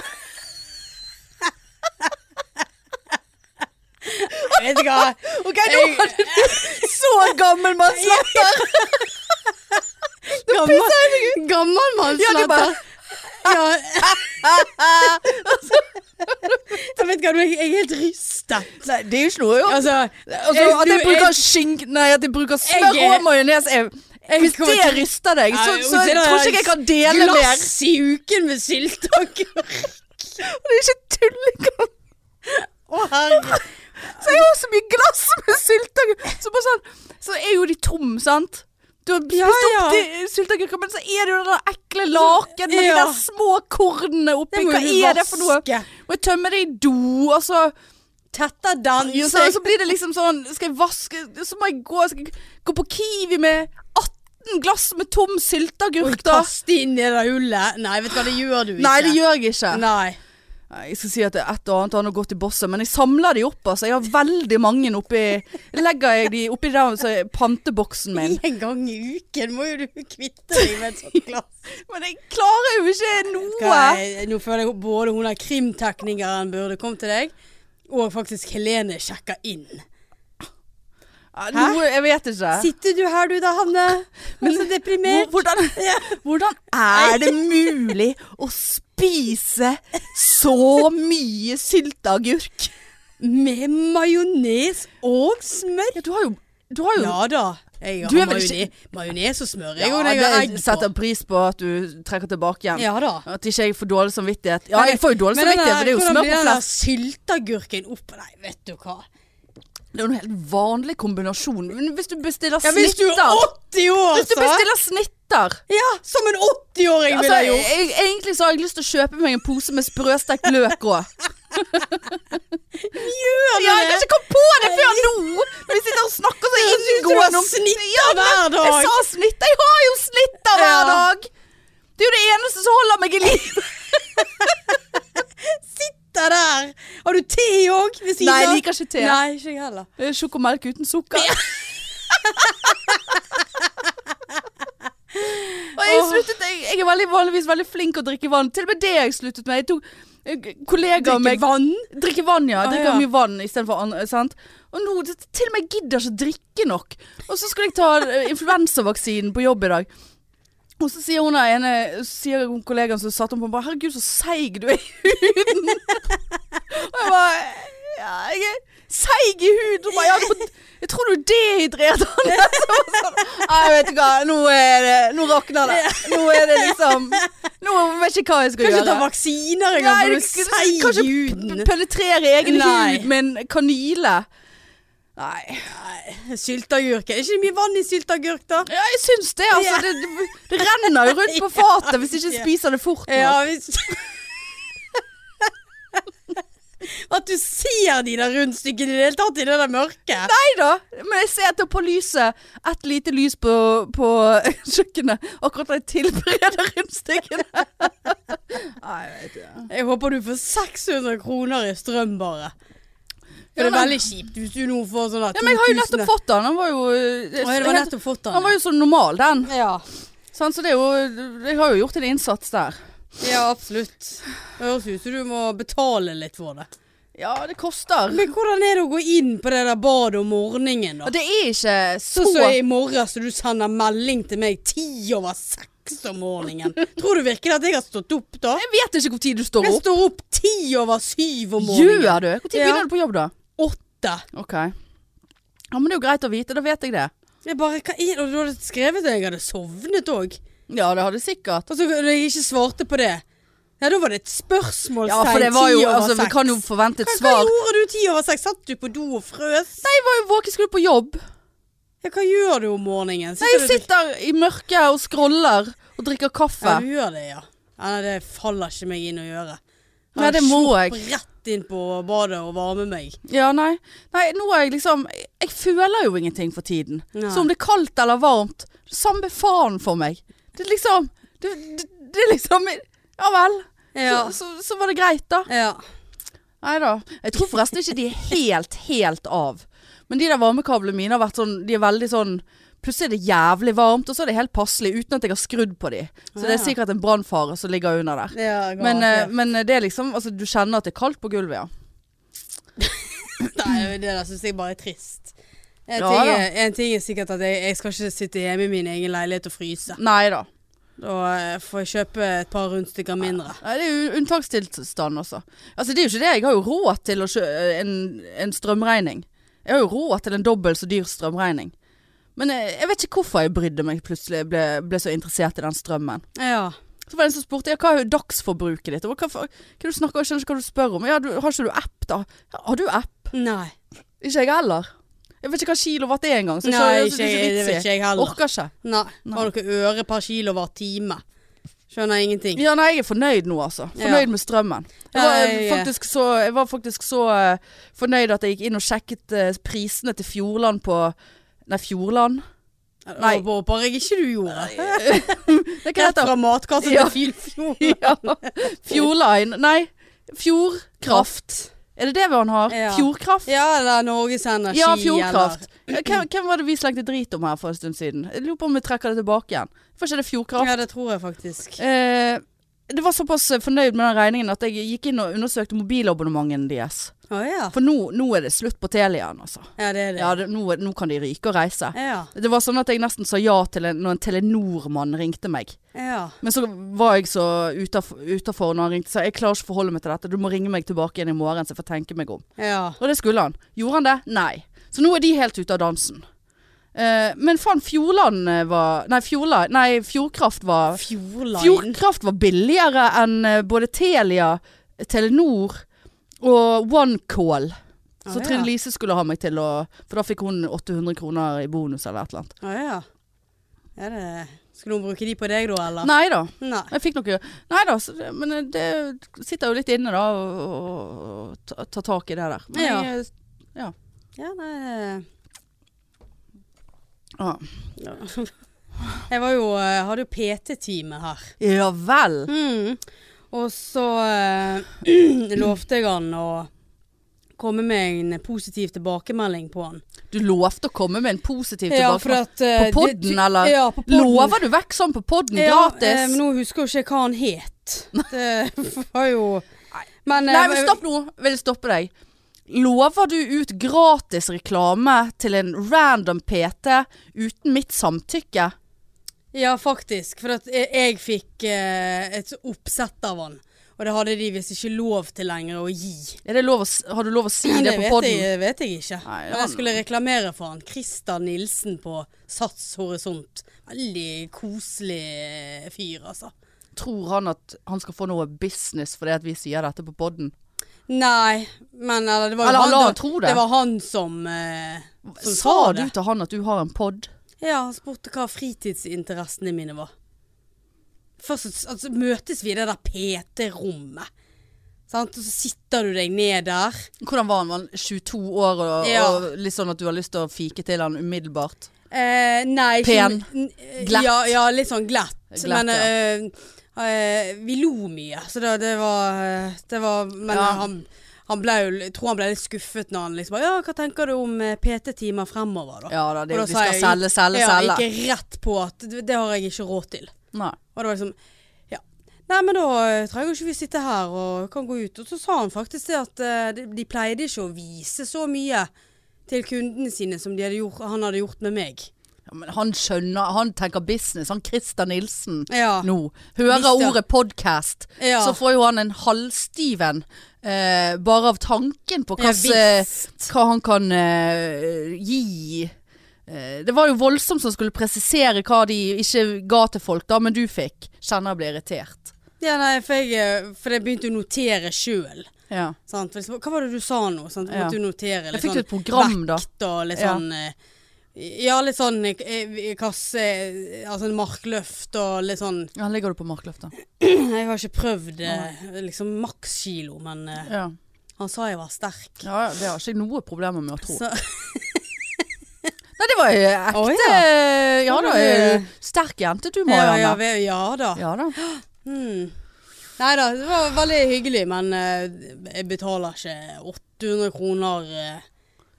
Speaker 2: Vet du hva?
Speaker 1: Ok, nå hadde du så gammel mannslatter. <laughs>
Speaker 2: Gammel, gammel
Speaker 1: Ja, de bare-
Speaker 2: Ja. Jeg vet ikke, hva, jeg er helt rystet.
Speaker 1: Nei, det er jo ikke noe å gjøre.
Speaker 2: Altså,
Speaker 1: Altså,
Speaker 2: jeg-
Speaker 1: at jeg
Speaker 2: du-
Speaker 1: bruker skink... Nei, at jeg bruker smør
Speaker 2: Jeg-
Speaker 1: og majones er
Speaker 2: jeg
Speaker 1: Hvis
Speaker 2: kommer
Speaker 1: det
Speaker 2: til-
Speaker 1: ryster deg, så,
Speaker 2: Ja, og
Speaker 1: så jeg
Speaker 2: så er
Speaker 1: tror
Speaker 2: det
Speaker 1: ikke jeg kan dele mer.
Speaker 2: Glass i uken med sylteagurk.
Speaker 1: <laughs> Det er ikke tull engang.
Speaker 2: Å, herregud.
Speaker 1: Så jeg har så mye glass med sylteagurk. Så, bare sånn, så er jo de tom, sant? Du har spist
Speaker 2: Ja, ja.
Speaker 1: opp de sylteagurkene, men så er det jo den der ekle laken med de
Speaker 2: Ja.
Speaker 1: der små kornene oppi.
Speaker 2: Det må
Speaker 1: Hva
Speaker 2: du
Speaker 1: er det for noe?
Speaker 2: vaske.
Speaker 1: Må jeg tømme det i do, og så
Speaker 2: Tetter den.
Speaker 1: Ja, så, så blir det liksom sånn Skal jeg vaske Så må jeg gå, skal jeg gå på Kiwi med 18 glass med tom sylteagurk, da.
Speaker 2: Kaste inn i det hullet. Nei, vet du hva, det gjør du ikke.
Speaker 1: Nei, det gjør jeg ikke.
Speaker 2: Nei.
Speaker 1: Nei, Jeg skal si at det er et og annet annet godt i bosset, men jeg samler de opp. altså. Jeg har veldig mange oppi Legger jeg de oppi der, så er panteboksen min.
Speaker 2: <laughs> En gang i uken må jo du kvitte deg med et sånt
Speaker 1: <laughs>
Speaker 2: glass.
Speaker 1: Men jeg klarer jo ikke noe!
Speaker 2: Skal jeg- Nå føler jeg både hun der krimteknikeren burde komme til deg, og faktisk Helene sjekker inn.
Speaker 1: Ja, Noe, jeg vet ikke.
Speaker 2: Sitter du her du da,
Speaker 1: <laughs>
Speaker 2: Hanne? Men så
Speaker 1: Hvor-
Speaker 2: deprimert.
Speaker 1: Hvordan,
Speaker 2: Ja.
Speaker 1: <laughs> hvordan er det mulig å spise så mye sylteagurk?
Speaker 2: Med majones og smør.
Speaker 1: Ja, du har jo, du har jo
Speaker 2: Ja da. Jeg
Speaker 1: Du er
Speaker 2: har
Speaker 1: vel
Speaker 2: majone- majones og smør. Jeg,
Speaker 1: Ja,
Speaker 2: og når jeg har
Speaker 1: det-
Speaker 2: egg
Speaker 1: setter
Speaker 2: på.
Speaker 1: pris på at du trekker tilbake igjen.
Speaker 2: Ja da.
Speaker 1: At ikke jeg får dårlig samvittighet. Ja, jeg får jo dårlig
Speaker 2: Men den
Speaker 1: samvittighet,
Speaker 2: der-
Speaker 1: for det er jo
Speaker 2: hvordan
Speaker 1: smør
Speaker 2: blir
Speaker 1: på
Speaker 2: den der
Speaker 1: flest.
Speaker 2: Sylteagurken opp Nei, vet du hva.
Speaker 1: Det er jo en helt vanlig kombinasjon. Men hvis du bestiller
Speaker 2: Ja,
Speaker 1: snitter
Speaker 2: hvis du er 80 år,
Speaker 1: Hvis du bestiller snitter
Speaker 2: Ja, som en 80-åring
Speaker 1: altså,
Speaker 2: ville jeg gjort.
Speaker 1: jeg, Egentlig så har jeg lyst til å kjøpe meg en pose med sprøstekt løk òg.
Speaker 2: Gjør du
Speaker 1: Ja,
Speaker 2: det?
Speaker 1: jeg kan ikke komme på det før nå! Men vi sitter og snakker så inn
Speaker 2: du har
Speaker 1: gode
Speaker 2: snitter hver dag?
Speaker 1: Jeg sa snitter! Jeg har jo snitter hver
Speaker 2: Ja.
Speaker 1: dag! Det er jo det eneste som holder meg i live.
Speaker 2: sitter der. Har du te òg ved siden
Speaker 1: Nei,
Speaker 2: av?
Speaker 1: jeg liker ikke te.
Speaker 2: Nei, ikke jeg heller.
Speaker 1: Eh, Sjokomelk uten sukker. <laughs> og jeg sluttet jeg, jeg er veldig, vanligvis veldig flink å drikke vann. Til og med det har jeg sluttet med. Jeg tok eh, kollegaer
Speaker 2: Drikke
Speaker 1: meg
Speaker 2: vann?
Speaker 1: Drikke vann, ja.
Speaker 2: Ah,
Speaker 1: Drikke
Speaker 2: ja.
Speaker 1: mye vann istedenfor annet. Sant? Og nå det- til og med gidder jeg ikke drikke nok. Og så skulle jeg ta eh, influensavaksinen på jobb i dag. Og så sier hun der ene så sier hun kollegaen som satt om på bare, 'Herregud, så seig du er i huden'. og jeg bare ja, 'Jeg er seig i huden'. Hun bare, ja, du må, 'Jeg tror du er dehydrert'. <laughs> Anne.» Så var det sånn, Nei, vet du hva. Nå, er det, nå rakner det. Nå er det liksom Nå vet jeg ikke hva jeg skal
Speaker 2: Kan ikke
Speaker 1: gjøre.
Speaker 2: ta vaksiner engang, for du er seig i
Speaker 1: Kanskje
Speaker 2: huden.
Speaker 1: penetrere egen
Speaker 2: Nei.
Speaker 1: hud med en kanyle. Nei.
Speaker 2: Sylteagurk. Er ikke det mye vann i sylteagurk, da?
Speaker 1: Ja, jeg syns det. Altså,
Speaker 2: Ja.
Speaker 1: det, det, det renner jo <laughs> rundt på fatet hvis ikke jeg
Speaker 2: Ja.
Speaker 1: spiser det fort nok.
Speaker 2: Ja, hvis <laughs> At du ser de der rundstykkene i det hele tatt i det der mørket.
Speaker 1: Nei da, men jeg ser at det er på lyset Et lite lys på, på <laughs> kjøkkenet Akkurat da jeg tilbereder rundstykkene <laughs> Nei, jeg vet ikke
Speaker 2: Jeg håper du får 600 kroner i strøm, bare. For
Speaker 1: Ja,
Speaker 2: det er
Speaker 1: men-
Speaker 2: veldig kjipt hvis du nå får sånn
Speaker 1: Ja, men jeg har jo nettopp fått den Han var jo, eh,
Speaker 2: Å, ja, det var nettopp fått den.
Speaker 1: han var jo så normal den
Speaker 2: ja.
Speaker 1: Sant, Så det er jo, jeg har jo gjort en innsats der
Speaker 2: ja, absolutt. Det høres ut som du må betale litt for det.
Speaker 1: Ja, det koster
Speaker 2: Men hvordan er det å gå inn på det der badet om morgenen, da?
Speaker 1: Og det er ikke så
Speaker 2: Så så i morges så du sender melding til meg ti over seks om morgenen. Tror du virkelig at jeg har stått opp da?
Speaker 1: Jeg vet ikke hvor tid du står
Speaker 2: Jeg
Speaker 1: opp
Speaker 2: står opp ti over syv om morgenen.
Speaker 1: Gjør du? Hvor tid
Speaker 2: Ja.
Speaker 1: begynner du på jobb da?
Speaker 2: Åtte.
Speaker 1: Ok Ja, men det er jo greit å vite, da vet jeg det
Speaker 2: Jeg bare, hva er det? Og du hadde skrevet at jeg hadde sovnet òg.
Speaker 1: Ja, det hadde sikkert
Speaker 2: Altså, når jeg ikke svarte på det. Ja, da var det et spørsmål
Speaker 1: Ja, for det var jo, altså, vi kan jo forvente et
Speaker 2: hva, hva
Speaker 1: svar.
Speaker 2: gjorde du ti over seks? Satt du på do og frøs?
Speaker 1: Nei, jeg var jo våken, skulle på jobb.
Speaker 2: Ja, hva gjør du om morgenen?
Speaker 1: Nei, jeg
Speaker 2: du
Speaker 1: sitter i mørket og scroller og drikker kaffe.
Speaker 2: Ja, du gjør det, ja. ja nei, det faller ikke meg inn å gjøre.
Speaker 1: Nei, det må jeg.
Speaker 2: Kjopp Rett inn på badet og varme meg.
Speaker 1: Ja, nei. Nei, nå er jeg liksom Jeg føler jo ingenting for tiden.
Speaker 2: Nei.
Speaker 1: Så om det er kaldt eller varmt, samme faen for meg. Det er liksom Det, det, det er liksom Ja vel.
Speaker 2: Ja.
Speaker 1: Så, så, så var det greit, da.
Speaker 2: Ja.
Speaker 1: Nei da. Jeg tror forresten ikke de er helt, helt av. Men de der varmekablene mine har vært sånn De er veldig sånn Plutselig er det jævlig varmt, og så er det helt passelig uten at jeg har skrudd på de. Så det er
Speaker 2: Ah.
Speaker 1: sikkert en brannfare som ligger under der.
Speaker 2: ja
Speaker 1: Men, eh,
Speaker 2: garantert.
Speaker 1: men det er liksom Altså, du kjenner at det er kaldt på gulvet, ja.
Speaker 2: <laughs> Nei, det der syns jeg bare er trist. En,
Speaker 1: Ja,
Speaker 2: ting
Speaker 1: da.
Speaker 2: er, en ting er sikkert at jeg, jeg skal ikke sitte hjemme i min egen leilighet og fryse.
Speaker 1: Nei da.
Speaker 2: Da eh, får jeg kjøpe et par rundstykker mindre.
Speaker 1: Nei, det er jo unntakstilstand også. Altså, det er jo ikke det. Jeg har jo råd til å kjø eh, en, en strømregning. Jeg har jo råd til en dobbelt så dyr strømregning. Men eh, jeg vet ikke hvorfor jeg brydde meg plutselig ble, ble så interessert i den strømmen.
Speaker 2: Ja.
Speaker 1: Så var det en som spurte ja, hva er dagsforbruket ditt? Og Hva, for- hva du snakker, jeg skjønner ikke hva du spør om. Ja, du, har ikke du app, da? Ja, Har du app?
Speaker 2: Nei.
Speaker 1: Ikke jeg heller. Jeg vet ikke hva kilowatt er engang. så jeg
Speaker 2: Nei,
Speaker 1: skjønner-
Speaker 2: ikke, jeg- det vet
Speaker 1: vits i.
Speaker 2: ikke jeg heller.
Speaker 1: Orker ikke.
Speaker 2: Nei. Har dere øre per kilo hver time? Skjønner ingenting.
Speaker 1: Ja, nei, jeg er fornøyd nå, altså. Fornøyd med strømmen. Jeg var,
Speaker 2: Ja,
Speaker 1: eh,
Speaker 2: jeg-
Speaker 1: faktisk så, jeg var faktisk så eh, fornøyd at jeg gikk inn og sjekket eh, prisene til Fjordland på Nei,
Speaker 2: <laughs>
Speaker 1: Fjordland? Nei.
Speaker 2: Nei. Og håper jeg ikke du gjorde.
Speaker 1: Det er hva
Speaker 2: Rett
Speaker 1: det
Speaker 2: fra matkassen
Speaker 1: Ja.
Speaker 2: til Filfjord.
Speaker 1: heter. Ja. <laughs> Fjordline. Nei, Fjordkraft. Er det det han har?
Speaker 2: Ja.
Speaker 1: Fjordkraft?
Speaker 2: <laughs> Ja, eller Norges Energi.
Speaker 1: Ja, Fjordkraft. Eh, Hvem, hvem var det vi slengte drit om her for en stund siden? Jeg lurer på om vi trekker det tilbake igjen. Var ikke det Fjordkraft?
Speaker 2: Eller. Ja, det tror jeg faktisk.
Speaker 1: Eh, det var såpass eh, fornøyd med den regningen at jeg gikk inn og undersøkte mobilabonnementet deres.
Speaker 2: Å ja.
Speaker 1: For nå, nå er det slutt på Teliaen, altså.
Speaker 2: Ja, det er det.
Speaker 1: Ja, det, nå, er- nå kan de ryke og reise.
Speaker 2: Ja.
Speaker 1: Det var sånn at jeg nesten sa ja til en, når en Telenor-mann ringte meg.
Speaker 2: ja.
Speaker 1: Men så var jeg så utaf- utafor når han ringte og sa jeg klarer ikke å forholde meg til dette, du må ringe meg tilbake igjen i morgen så jeg får tenke meg om.
Speaker 2: ja.
Speaker 1: Og det skulle han. Gjorde han det? Nei. Så nå er de helt ute av dansen. Eh, men faen, Fjordland eh, var Nei, Fjordland, nei Fjordkraft var
Speaker 2: Fjordline.
Speaker 1: Fjordkraft var billigere enn eh, både Telia, Telenor og OneCall. Så
Speaker 2: Ah, ja.
Speaker 1: Trine Lise skulle ha meg til å For da fikk hun 800 kroner i bonus eller et eller annet.
Speaker 2: Å ja. ja det... Skulle hun bruke de på deg da, eller?
Speaker 1: Nei da.
Speaker 2: Nei.
Speaker 1: Jeg fikk noe Nei da, så det- men eh, det sitter jo litt inne da å- å å ta, ta tak i det der. Men
Speaker 2: Ja.
Speaker 1: jeg,
Speaker 2: Ja, nei. det-
Speaker 1: Ah.
Speaker 2: Jeg var jo, eh, hadde jo PT-time her.
Speaker 1: eh, Ja vel.
Speaker 2: Mm. Og så eh, <clears throat> lovte jeg han å komme med en positiv tilbakemelding på han.
Speaker 1: Du lovte å komme med en positiv
Speaker 2: Ja, for
Speaker 1: tilbakemelding.
Speaker 2: at, eh,
Speaker 1: på podden,
Speaker 2: det-
Speaker 1: eller?
Speaker 2: Ja, på podden.
Speaker 1: Lover du vekk sånn på podden
Speaker 2: Ja, eh,
Speaker 1: gratis?
Speaker 2: men nå husker jeg ikke hva han het.
Speaker 1: <laughs>
Speaker 2: Det <laughs> var jo Men, eh,
Speaker 1: Nei, men stopp nå. Vil jeg stoppe deg. Lover du ut gratis reklame til en random PT uten mitt samtykke?
Speaker 2: Ja, faktisk. For at jeg, jeg fikk eh, et oppsett av han. Og det hadde de visst ikke lov til lenger å gi.
Speaker 1: Er det lov å, s- har du lov å si
Speaker 2: Men
Speaker 1: det,
Speaker 2: det
Speaker 1: på
Speaker 2: vet
Speaker 1: podden?
Speaker 2: jeg, det vet jeg ikke.
Speaker 1: Nei,
Speaker 2: Men
Speaker 1: han-
Speaker 2: jeg skulle reklamere for han. Christer Nilsen på Sats Horisont. Veldig koselig fyr, altså.
Speaker 1: Tror han at han skal få noe business fordi at vi sier dette på podden?
Speaker 2: Nei, men eller, det var jo
Speaker 1: Eller han la
Speaker 2: det-
Speaker 1: han tro det.
Speaker 2: Det var han som, eh, som
Speaker 1: Sa
Speaker 2: sa
Speaker 1: du
Speaker 2: det.
Speaker 1: til han at du har en pod?
Speaker 2: Ja, han spurte hva fritidsinteressene mine var. Først så- altså, møtes vi i det der PT-rommet. Sant? Og så sitter du deg ned der.
Speaker 1: Hvordan var han? Var han 22 år og,
Speaker 2: Ja.
Speaker 1: og litt sånn at du har lyst til å fike til han umiddelbart?
Speaker 2: Eh, nei, ikke-
Speaker 1: Pen.
Speaker 2: n- eh,
Speaker 1: Glatt.
Speaker 2: Ja, ja litt sånn glatt.
Speaker 1: Glatt,
Speaker 2: men eh, eh, vi lo mye, så det, det var eh, Det var Men
Speaker 1: Ja.
Speaker 2: han, han ble jo Jeg tror han ble litt skuffet når han liksom Ja, hva tenker du om eh, PT-timer fremover, da?
Speaker 1: Ja da, det,
Speaker 2: Og
Speaker 1: vi
Speaker 2: sa
Speaker 1: skal
Speaker 2: jeg-
Speaker 1: selge, selge,
Speaker 2: ja,
Speaker 1: selge.
Speaker 2: Gikk rett på at det, det har jeg ikke råd til.
Speaker 1: Nei.
Speaker 2: Og det var liksom Ja. Nei, men da eh, trenger ikke vi sitte her og kan gå ut. Og så sa han faktisk det at eh, de, de pleide ikke å vise så mye til kundene sine som de hadde gjort, han hadde gjort med meg.
Speaker 1: Ja, men han skjønner, han tenker business. Han Christer Nilsen
Speaker 2: Ja.
Speaker 1: nå. Hører
Speaker 2: Mister.
Speaker 1: ordet podcast,
Speaker 2: Ja.
Speaker 1: så får jo han en halvstiven eh, bare av tanken på
Speaker 2: Ja,
Speaker 1: hva, s-
Speaker 2: visst.
Speaker 1: hva han kan eh, gi. Eh, det var jo voldsomt som skulle presisere hva de ikke ga til folk, da, men du fikk. Kjenner jeg blir irritert.
Speaker 2: Ja, nei, for jeg, eh, for jeg begynte å notere sjøl.
Speaker 1: Ja.
Speaker 2: Sant? For liksom, Hva var det du sa nå? Sant? Jeg
Speaker 1: Ja.
Speaker 2: måtte jo notere
Speaker 1: Jeg
Speaker 2: litt
Speaker 1: fikk jo
Speaker 2: sånn
Speaker 1: et program, da.
Speaker 2: vekt og litt
Speaker 1: Ja.
Speaker 2: sånn eh, Ja, litt sånn eh, eh, kasse eh, Altså en markløft og litt sånn <clears throat>
Speaker 1: Ja, ligger du på markløftet?
Speaker 2: Jeg har ikke prøvd eh, liksom makskilo, men eh,
Speaker 1: Ja.
Speaker 2: han sa jeg var sterk.
Speaker 1: ja, det har ikke jeg noe problemer med å tro.
Speaker 2: Så,
Speaker 1: <laughs> Nei, det var jo ekte
Speaker 2: Å,
Speaker 1: ja.
Speaker 2: ja. Ja,
Speaker 1: da, eh, sterk jente du,
Speaker 2: ja, ja,
Speaker 1: Marianne.
Speaker 2: vi, ja da.
Speaker 1: Ja da.
Speaker 2: Hmm. Nei da, det var veldig hyggelig, men eh, jeg betaler ikke 800 kroner eh,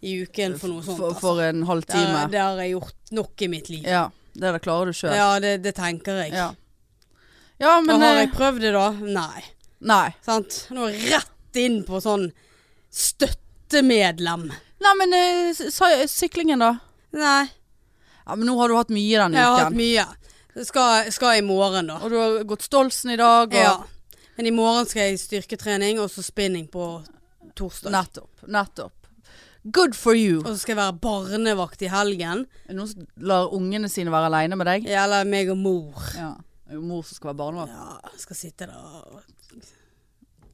Speaker 2: i uken for noe sånt.
Speaker 1: For,
Speaker 2: altså.
Speaker 1: for en
Speaker 2: det,
Speaker 1: halvtime.
Speaker 2: har, det har jeg gjort nok i mitt liv. Ja,
Speaker 1: Ja, det der klarer du sjøl.
Speaker 2: det, det tenker jeg.
Speaker 1: Ja. Ja, men
Speaker 2: Men, har jeg
Speaker 1: eh,
Speaker 2: prøvd det, da? Nei.
Speaker 1: Nei.
Speaker 2: Sant? Nå rett inn på sånn støttemedlem.
Speaker 1: Nei, men eh, s- sa- syklingen, da?
Speaker 2: Nei,
Speaker 1: Ja, men Nå har du hatt mye denne
Speaker 2: jeg har hatt
Speaker 1: uken.
Speaker 2: mye. Det skal, skal i morgen, da.
Speaker 1: Og du har gått Stolsen i dag. Og
Speaker 2: Ja. Men i morgen skal jeg i styrketrening og så spinning på torsdag.
Speaker 1: Nettopp. Nettopp. Good for you.
Speaker 2: Og så skal jeg være barnevakt i helgen.
Speaker 1: Er det noen som lar ungene sine være aleine med deg?
Speaker 2: Eller meg og mor.
Speaker 1: Ja. Det er jo mor som skal være barnevakt.
Speaker 2: Ja, skal sitte der og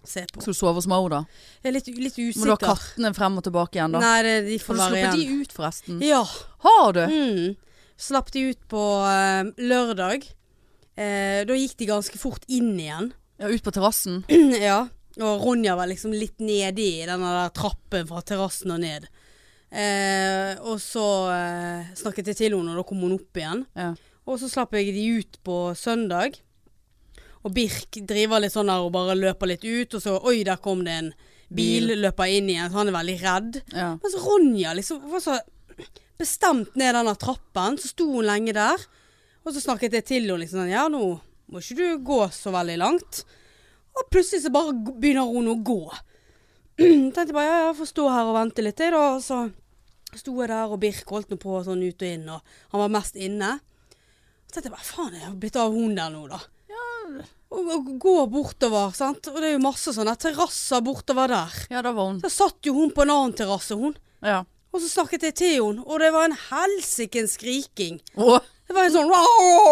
Speaker 2: se på.
Speaker 1: Skal du sove hos mor, da?
Speaker 2: Jeg er litt, litt
Speaker 1: Må du ha
Speaker 2: usikker.
Speaker 1: kattene frem og tilbake igjen, da?
Speaker 2: Nei, det, de
Speaker 1: Har
Speaker 2: får
Speaker 1: du
Speaker 2: være igjen.
Speaker 1: sluppet de ut, forresten?
Speaker 2: Ja.
Speaker 1: Har du?
Speaker 2: Mm. Slapp de ut på eh, lørdag. Eh, da gikk de ganske fort inn igjen. <clears throat>
Speaker 1: Ja, ut på terrassen?
Speaker 2: ja. Og Ronja var liksom litt nede i denne der trappen fra terrassen og ned. Eh, og så eh, snakket jeg til henne, og da kom hun opp igjen.
Speaker 1: Ja.
Speaker 2: Og så slapp jeg de ut på søndag. Og Birk driver litt sånn der og bare løper litt ut, og så oi, der kom det en bil, løper inn igjen, så han er veldig redd.
Speaker 1: ja.
Speaker 2: Mens Ronja liksom var så bestemt ned denne trappen, så sto hun lenge der. Og så snakket jeg til henne liksom sånn, ja nå må ikke du gå så veldig langt. Og plutselig så bare g- begynner hun å gå. <clears throat> Tenkte jeg bare, ja, ja, jeg får stå her og vente litt jeg da, og så sto jeg der, og Birk holdt nå på sånn ut og inn, og han var mest inne. Så tenkte jeg bare, faen, jeg har blitt av hun der nå da. Og, og gå bortover, sant? Og det er jo masse sånne terrasser bortover der.
Speaker 1: ja, da var hun
Speaker 2: Så satt jo hun på en annen terrasse, hun.
Speaker 1: Ja.
Speaker 2: Og så snakket jeg til henne, og det var en helsikens skriking.
Speaker 1: Å,
Speaker 2: Det var en sånn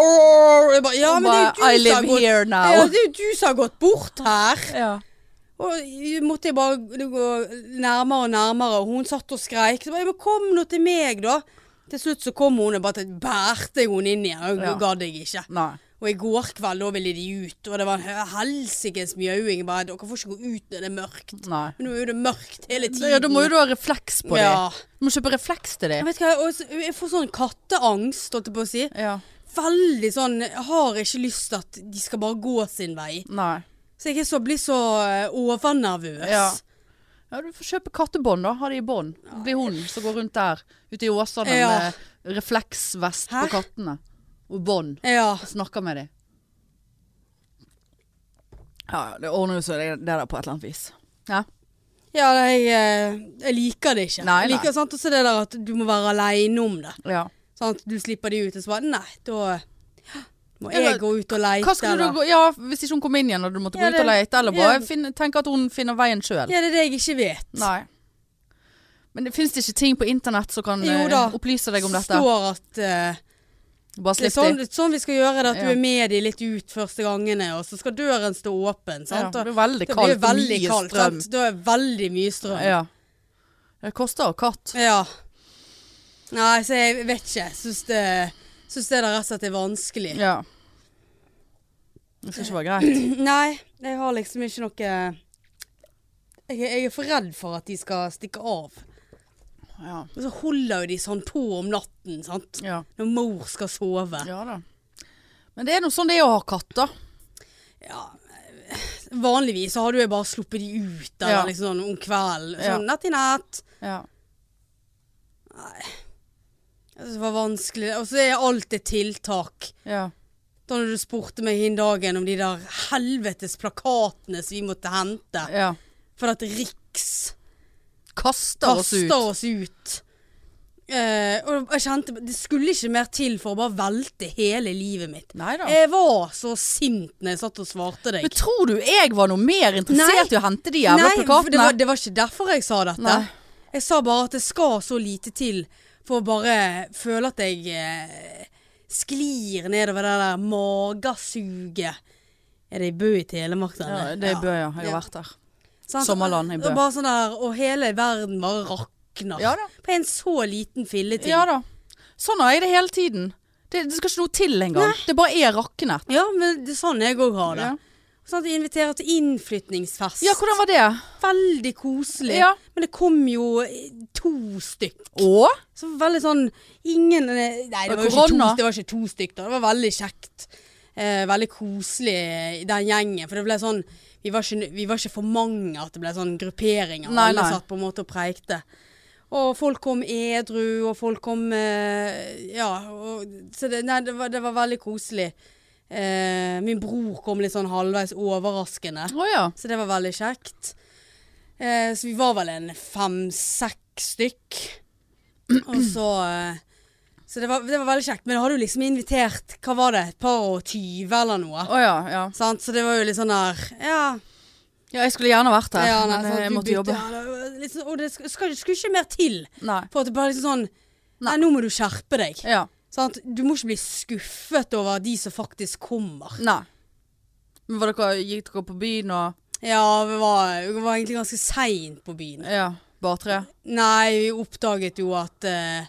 Speaker 2: Jeg bare, Ja,
Speaker 1: Hun
Speaker 2: men det
Speaker 1: bare,
Speaker 2: er jo
Speaker 1: I
Speaker 2: du som har
Speaker 1: live
Speaker 2: gått
Speaker 1: here now.
Speaker 2: Ja, det er jo du som har gått bort her.
Speaker 1: ja.
Speaker 2: Og jeg måtte jeg bare gå nærmere og nærmere, og hun satt og skreik. Så jeg bare, «Ja, men kom nå til meg, da. Til slutt så kom hun og bare bærte jeg henne inn igjen, og
Speaker 1: Ja.
Speaker 2: gadd jeg ikke.
Speaker 1: Nei.
Speaker 2: Og i går kveld, da ville de ut, og det var en helsikes mjauing. Bare, dere får ikke gå ut når det er mørkt.
Speaker 1: Nei.
Speaker 2: Men nå er jo det mørkt hele tiden.
Speaker 1: Ja, da må jo du ha refleks på
Speaker 2: Ja.
Speaker 1: det. Du må kjøpe refleks til det.
Speaker 2: Jeg vet ikke, og så- jeg får sånn katteangst, holdt jeg på å si.
Speaker 1: Ja.
Speaker 2: Veldig sånn jeg Har ikke lyst til at de skal bare gå sin vei.
Speaker 1: Nei.
Speaker 2: Så jeg er så, blir så eh, overnervøs.
Speaker 1: Ja. Ja, du får kjøpe kattebånd, da. Ha det i bånd. Det blir hunden som går rundt der ute i åsene
Speaker 2: Ja.
Speaker 1: med refleksvest på
Speaker 2: Hæ?
Speaker 1: kattene. Og bånd.
Speaker 2: Ja.
Speaker 1: Og snakker med dem. Ja, ja, det ordner jo seg det det der på et eller annet vis. Ja.
Speaker 2: Ja, nei, jeg, eh, jeg liker det ikke.
Speaker 1: Nei,
Speaker 2: jeg liker
Speaker 1: nei.
Speaker 2: sant, også det der at du må være aleine om det.
Speaker 1: ja.
Speaker 2: Sant? Du slipper de ut, og så bare Nei, da må
Speaker 1: Ja,
Speaker 2: jeg
Speaker 1: da-
Speaker 2: gå ut og leite.
Speaker 1: Hva skulle du
Speaker 2: eller-
Speaker 1: gå Ja, hvis ikke hun kom inn igjen og du måtte gå
Speaker 2: Ja,
Speaker 1: ut
Speaker 2: det-
Speaker 1: og lete, eller
Speaker 2: ja.
Speaker 1: bare finne- tenke at hun finner veien sjøl.
Speaker 2: Ja, det er det jeg ikke vet.
Speaker 1: Nei. Men det fins det ikke ting på internett som kan
Speaker 2: Jo
Speaker 1: eh,
Speaker 2: da.
Speaker 1: opplyse deg om
Speaker 2: Det
Speaker 1: dette?
Speaker 2: står at eh,
Speaker 1: Bare
Speaker 2: det er
Speaker 1: slipp
Speaker 2: sånn,
Speaker 1: de.
Speaker 2: det er sånn vi skal gjøre det, at
Speaker 1: Ja.
Speaker 2: du er med de litt ut første gangene, og så skal døren stå åpen.
Speaker 1: Ja,
Speaker 2: Sant? Og
Speaker 1: det blir veldig
Speaker 2: det
Speaker 1: kaldt
Speaker 2: blir
Speaker 1: og
Speaker 2: veldig
Speaker 1: mye
Speaker 2: kaldt.
Speaker 1: strøm.
Speaker 2: Sant? Da er det veldig mye strøm.
Speaker 1: Ja. Det koster å ha katt.
Speaker 2: Ja. Nei, så jeg vet ikke. Jeg syns det, synes det der rett og slett er vanskelig.
Speaker 1: Ja. Det skal ikke være
Speaker 2: <clears throat>
Speaker 1: greit.
Speaker 2: Nei, jeg har liksom ikke noe jeg, er- jeg er for redd for at de skal stikke av.
Speaker 1: Ja.
Speaker 2: Og så holder jo de sånn på om natten, sant.
Speaker 1: Ja.
Speaker 2: Når mor skal sove.
Speaker 1: ja da. Men det er nå sånn det er å ha katter.
Speaker 2: Ja. Vanligvis så har du jo bare sluppet de ut eller
Speaker 1: Ja.
Speaker 2: liksom sånn om kvelden.
Speaker 1: Ja.
Speaker 2: Sånn natt i natt.
Speaker 1: Ja.
Speaker 2: Altså, Det var vanskelig. Og så er alt et tiltak.
Speaker 1: Ja.
Speaker 2: Da når du spurte meg hin dagen om de der helvetes plakatene som vi måtte hente.
Speaker 1: ja.
Speaker 2: For at Riks
Speaker 1: Kaster, oss ut.
Speaker 2: kaster oss ut. Eh, og jeg kjente Det skulle ikke mer til for å bare velte hele livet mitt.
Speaker 1: Nei da.
Speaker 2: Jeg var så sint når jeg satt og svarte deg.
Speaker 1: Men tror du jeg var noe mer interessert
Speaker 2: Nei.
Speaker 1: i å hente de jævla
Speaker 2: for det
Speaker 1: plakatene?
Speaker 2: var, det var ikke derfor jeg sa dette.
Speaker 1: Nei.
Speaker 2: Jeg sa bare at det skal så lite til for å bare føle at jeg eh, sklir nedover det der magesuget. Er det i Bø i Telemark?
Speaker 1: Ja,
Speaker 2: denne?
Speaker 1: det er Bø, ja. Jeg har
Speaker 2: Ja.
Speaker 1: vært der.
Speaker 2: Sant?
Speaker 1: Sommerland i Bø.
Speaker 2: Og Bare sånn der, og hele verden bare rakner.
Speaker 1: Ja da.
Speaker 2: På en så liten filleting.
Speaker 1: Ja da. Sånn har jeg det hele tiden. Det, det skal ikke noe til engang. Det bare er raknet.
Speaker 2: Ja, men det er sånn jeg òg har det.
Speaker 1: Ja.
Speaker 2: Sånn at jeg inviterer til innflytningsfest.
Speaker 1: Ja, hvordan var det?
Speaker 2: Veldig koselig.
Speaker 1: Ja.
Speaker 2: Men det kom jo eh, to stykk.
Speaker 1: Å?
Speaker 2: Så veldig sånn Ingen eh, Nei, det var, jo ikke to,
Speaker 1: korona?
Speaker 2: det var ikke to stykk, da. Det var veldig kjekt. Eh, veldig koselig i den gjengen. For det ble sånn vi var, ikke, vi var ikke for mange at det ble sånn grupperinger.
Speaker 1: Nei,
Speaker 2: Alle
Speaker 1: nei.
Speaker 2: satt på en måte og preikte. Og folk kom edru, og folk kom eh, Ja. Og, så det, nei, det, var, det var veldig koselig. Eh, min bror kom litt sånn halvveis overraskende.
Speaker 1: Å ja.
Speaker 2: Så det var veldig kjekt. Eh, så vi var vel en fem-seks stykk. Og så eh, Så det var, det var veldig kjekt. Men da hadde jo liksom invitert Hva var det? Et par og tyve eller noe?
Speaker 1: Å ja, ja.
Speaker 2: Sant? Så det var jo litt sånn der Ja.
Speaker 1: Ja, jeg skulle gjerne vært der,
Speaker 2: ja
Speaker 1: men eh,
Speaker 2: sant,
Speaker 1: jeg
Speaker 2: du
Speaker 1: måtte
Speaker 2: bytte-
Speaker 1: jobbe.
Speaker 2: ja, det var litt sånn- og det sk- skal, skulle ikke mer til.
Speaker 1: Nei.
Speaker 2: For at det bare liksom sånn Nei, nå må du skjerpe deg.
Speaker 1: Ja.
Speaker 2: Sant? Du må ikke bli skuffet over de som faktisk kommer.
Speaker 1: Nei. Men var dere, gikk dere på byen og
Speaker 2: Ja, vi var, vi var egentlig ganske seint på byen.
Speaker 1: Ja, bare tre?
Speaker 2: Nei, vi oppdaget jo at eh,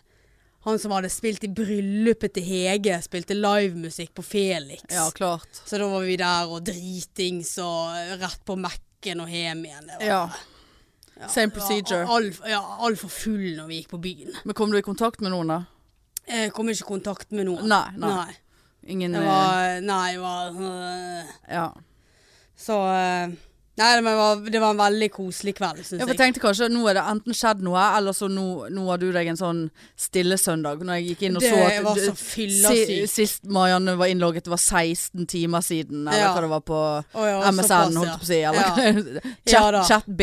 Speaker 2: han som hadde spilt i bryllupet til Hege, spilte livemusikk på Felix.
Speaker 1: Ja, klart.
Speaker 2: Så da var vi der og dritings og rett på Mac-en og hjem igjen. Det var-
Speaker 1: Ja. Same
Speaker 2: det var
Speaker 1: procedure.
Speaker 2: All, ja, altfor full når vi gikk på byen.
Speaker 1: Men kom du i kontakt med noen, da?
Speaker 2: Jeg kom ikke i kontakt med noen.
Speaker 1: Nei, nei. Ingen
Speaker 2: Det var Nei, det var øh,
Speaker 1: eh, Ja.
Speaker 2: Så øh, Nei, men det var, det var en veldig koselig kveld, syns
Speaker 1: Ja, for
Speaker 2: jeg.
Speaker 1: Jeg tenkte kanskje nå er det enten skjedd noe, eller så nå, nå har du deg en sånn stille søndag. Når jeg gikk inn og så
Speaker 2: Det
Speaker 1: at
Speaker 2: var
Speaker 1: du-
Speaker 2: så fyllesykt.
Speaker 1: si- Sist Marianne var innlogget, det var 16 timer siden, eller
Speaker 2: Ja.
Speaker 1: hva det var på
Speaker 2: Å, ja, såpass, ja.
Speaker 1: MSN, holdt jeg på å si.
Speaker 2: Ja.
Speaker 1: Eller
Speaker 2: Ja da.
Speaker 1: <laughs> chat, chat,
Speaker 2: Og så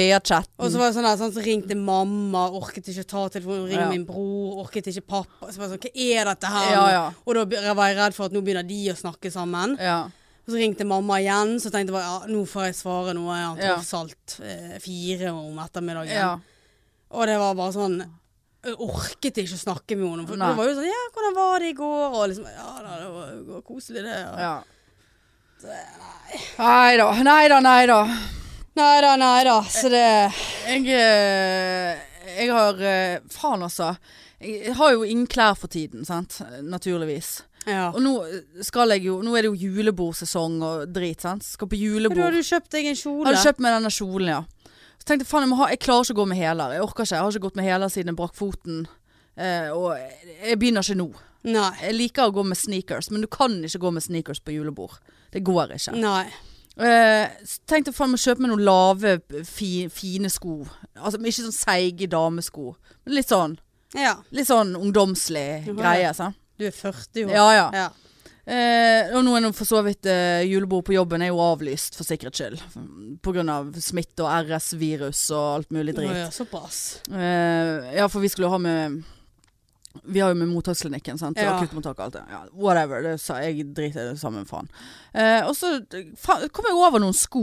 Speaker 1: BR-chatten.
Speaker 2: var det sånn der, sånn, så ringte mamma, orket ikke ta telefonen, ringte
Speaker 1: Ja.
Speaker 2: min bror, orket ikke pappa. Så var det sånn, hva er dette her?
Speaker 1: Ja,
Speaker 2: nå?
Speaker 1: ja.
Speaker 2: Og da be- var jeg redd for at nå begynner de å snakke sammen.
Speaker 1: Ja.
Speaker 2: Og så ringte mamma igjen, så tenkte jeg bare, ja, nå får jeg svare noe, jeg har
Speaker 1: Ja.
Speaker 2: tross alt eh, fire om ettermiddagen.
Speaker 1: ja.
Speaker 2: Og det var bare sånn, jeg orket ikke å snakke med henne. For
Speaker 1: Nei.
Speaker 2: det var jo sånn, ja, hvordan var det i går? Og liksom, ja, da, det var, det var koselig det. Og,
Speaker 1: ja. Nei da, nei da, nei da.
Speaker 2: Neida, neida, så det...
Speaker 1: Jeg, eh, jeg har eh, Faen, altså. Jeg har jo ingen klær for tiden, sant. Naturligvis.
Speaker 2: Ja.
Speaker 1: Og nå skal jeg jo Nå er det jo julebordsesong og drit, sant. Skal på
Speaker 2: Du
Speaker 1: julebord.
Speaker 2: hadde jo kjøpt deg en kjole.
Speaker 1: Hadde kjøpt meg denne kjolen, ja. Så tenkte jeg faen, jeg, må ha, jeg klarer ikke å gå med hæler. Jeg orker ikke. Jeg har ikke gått med hæler siden jeg brakk foten. Eh, og jeg begynner ikke nå.
Speaker 2: Nei.
Speaker 1: Jeg liker å gå med sneakers, men du kan ikke gå med sneakers på julebord. Det går ikke.
Speaker 2: Nei.
Speaker 1: Eh, så tenkte jeg faen meg å kjøpe meg noen lave, fi, fine sko. Altså men Ikke sånn seige damesko, men litt sånn,
Speaker 2: Ja.
Speaker 1: litt sånn ungdomslig
Speaker 2: Mhm.
Speaker 1: greie. Sant?
Speaker 2: Du er 40 år.
Speaker 1: Ja ja.
Speaker 2: Ja.
Speaker 1: Eh, og nå er nå for så vidt eh, julebord på jobben er jo avlyst for sikkerhets skyld. Pga. smitte og RS-virus og alt mulig
Speaker 2: Å,
Speaker 1: drit.
Speaker 2: ja, såpass.
Speaker 1: Eh, ja, for vi skulle jo ha med Vi har jo med mottaksklinikken, sant.
Speaker 2: Ja.
Speaker 1: Akuttmottak og alt det. Ja, whatever. Det sa, jeg driter i det samme, faen. Eh, og så fa kom jeg over noen sko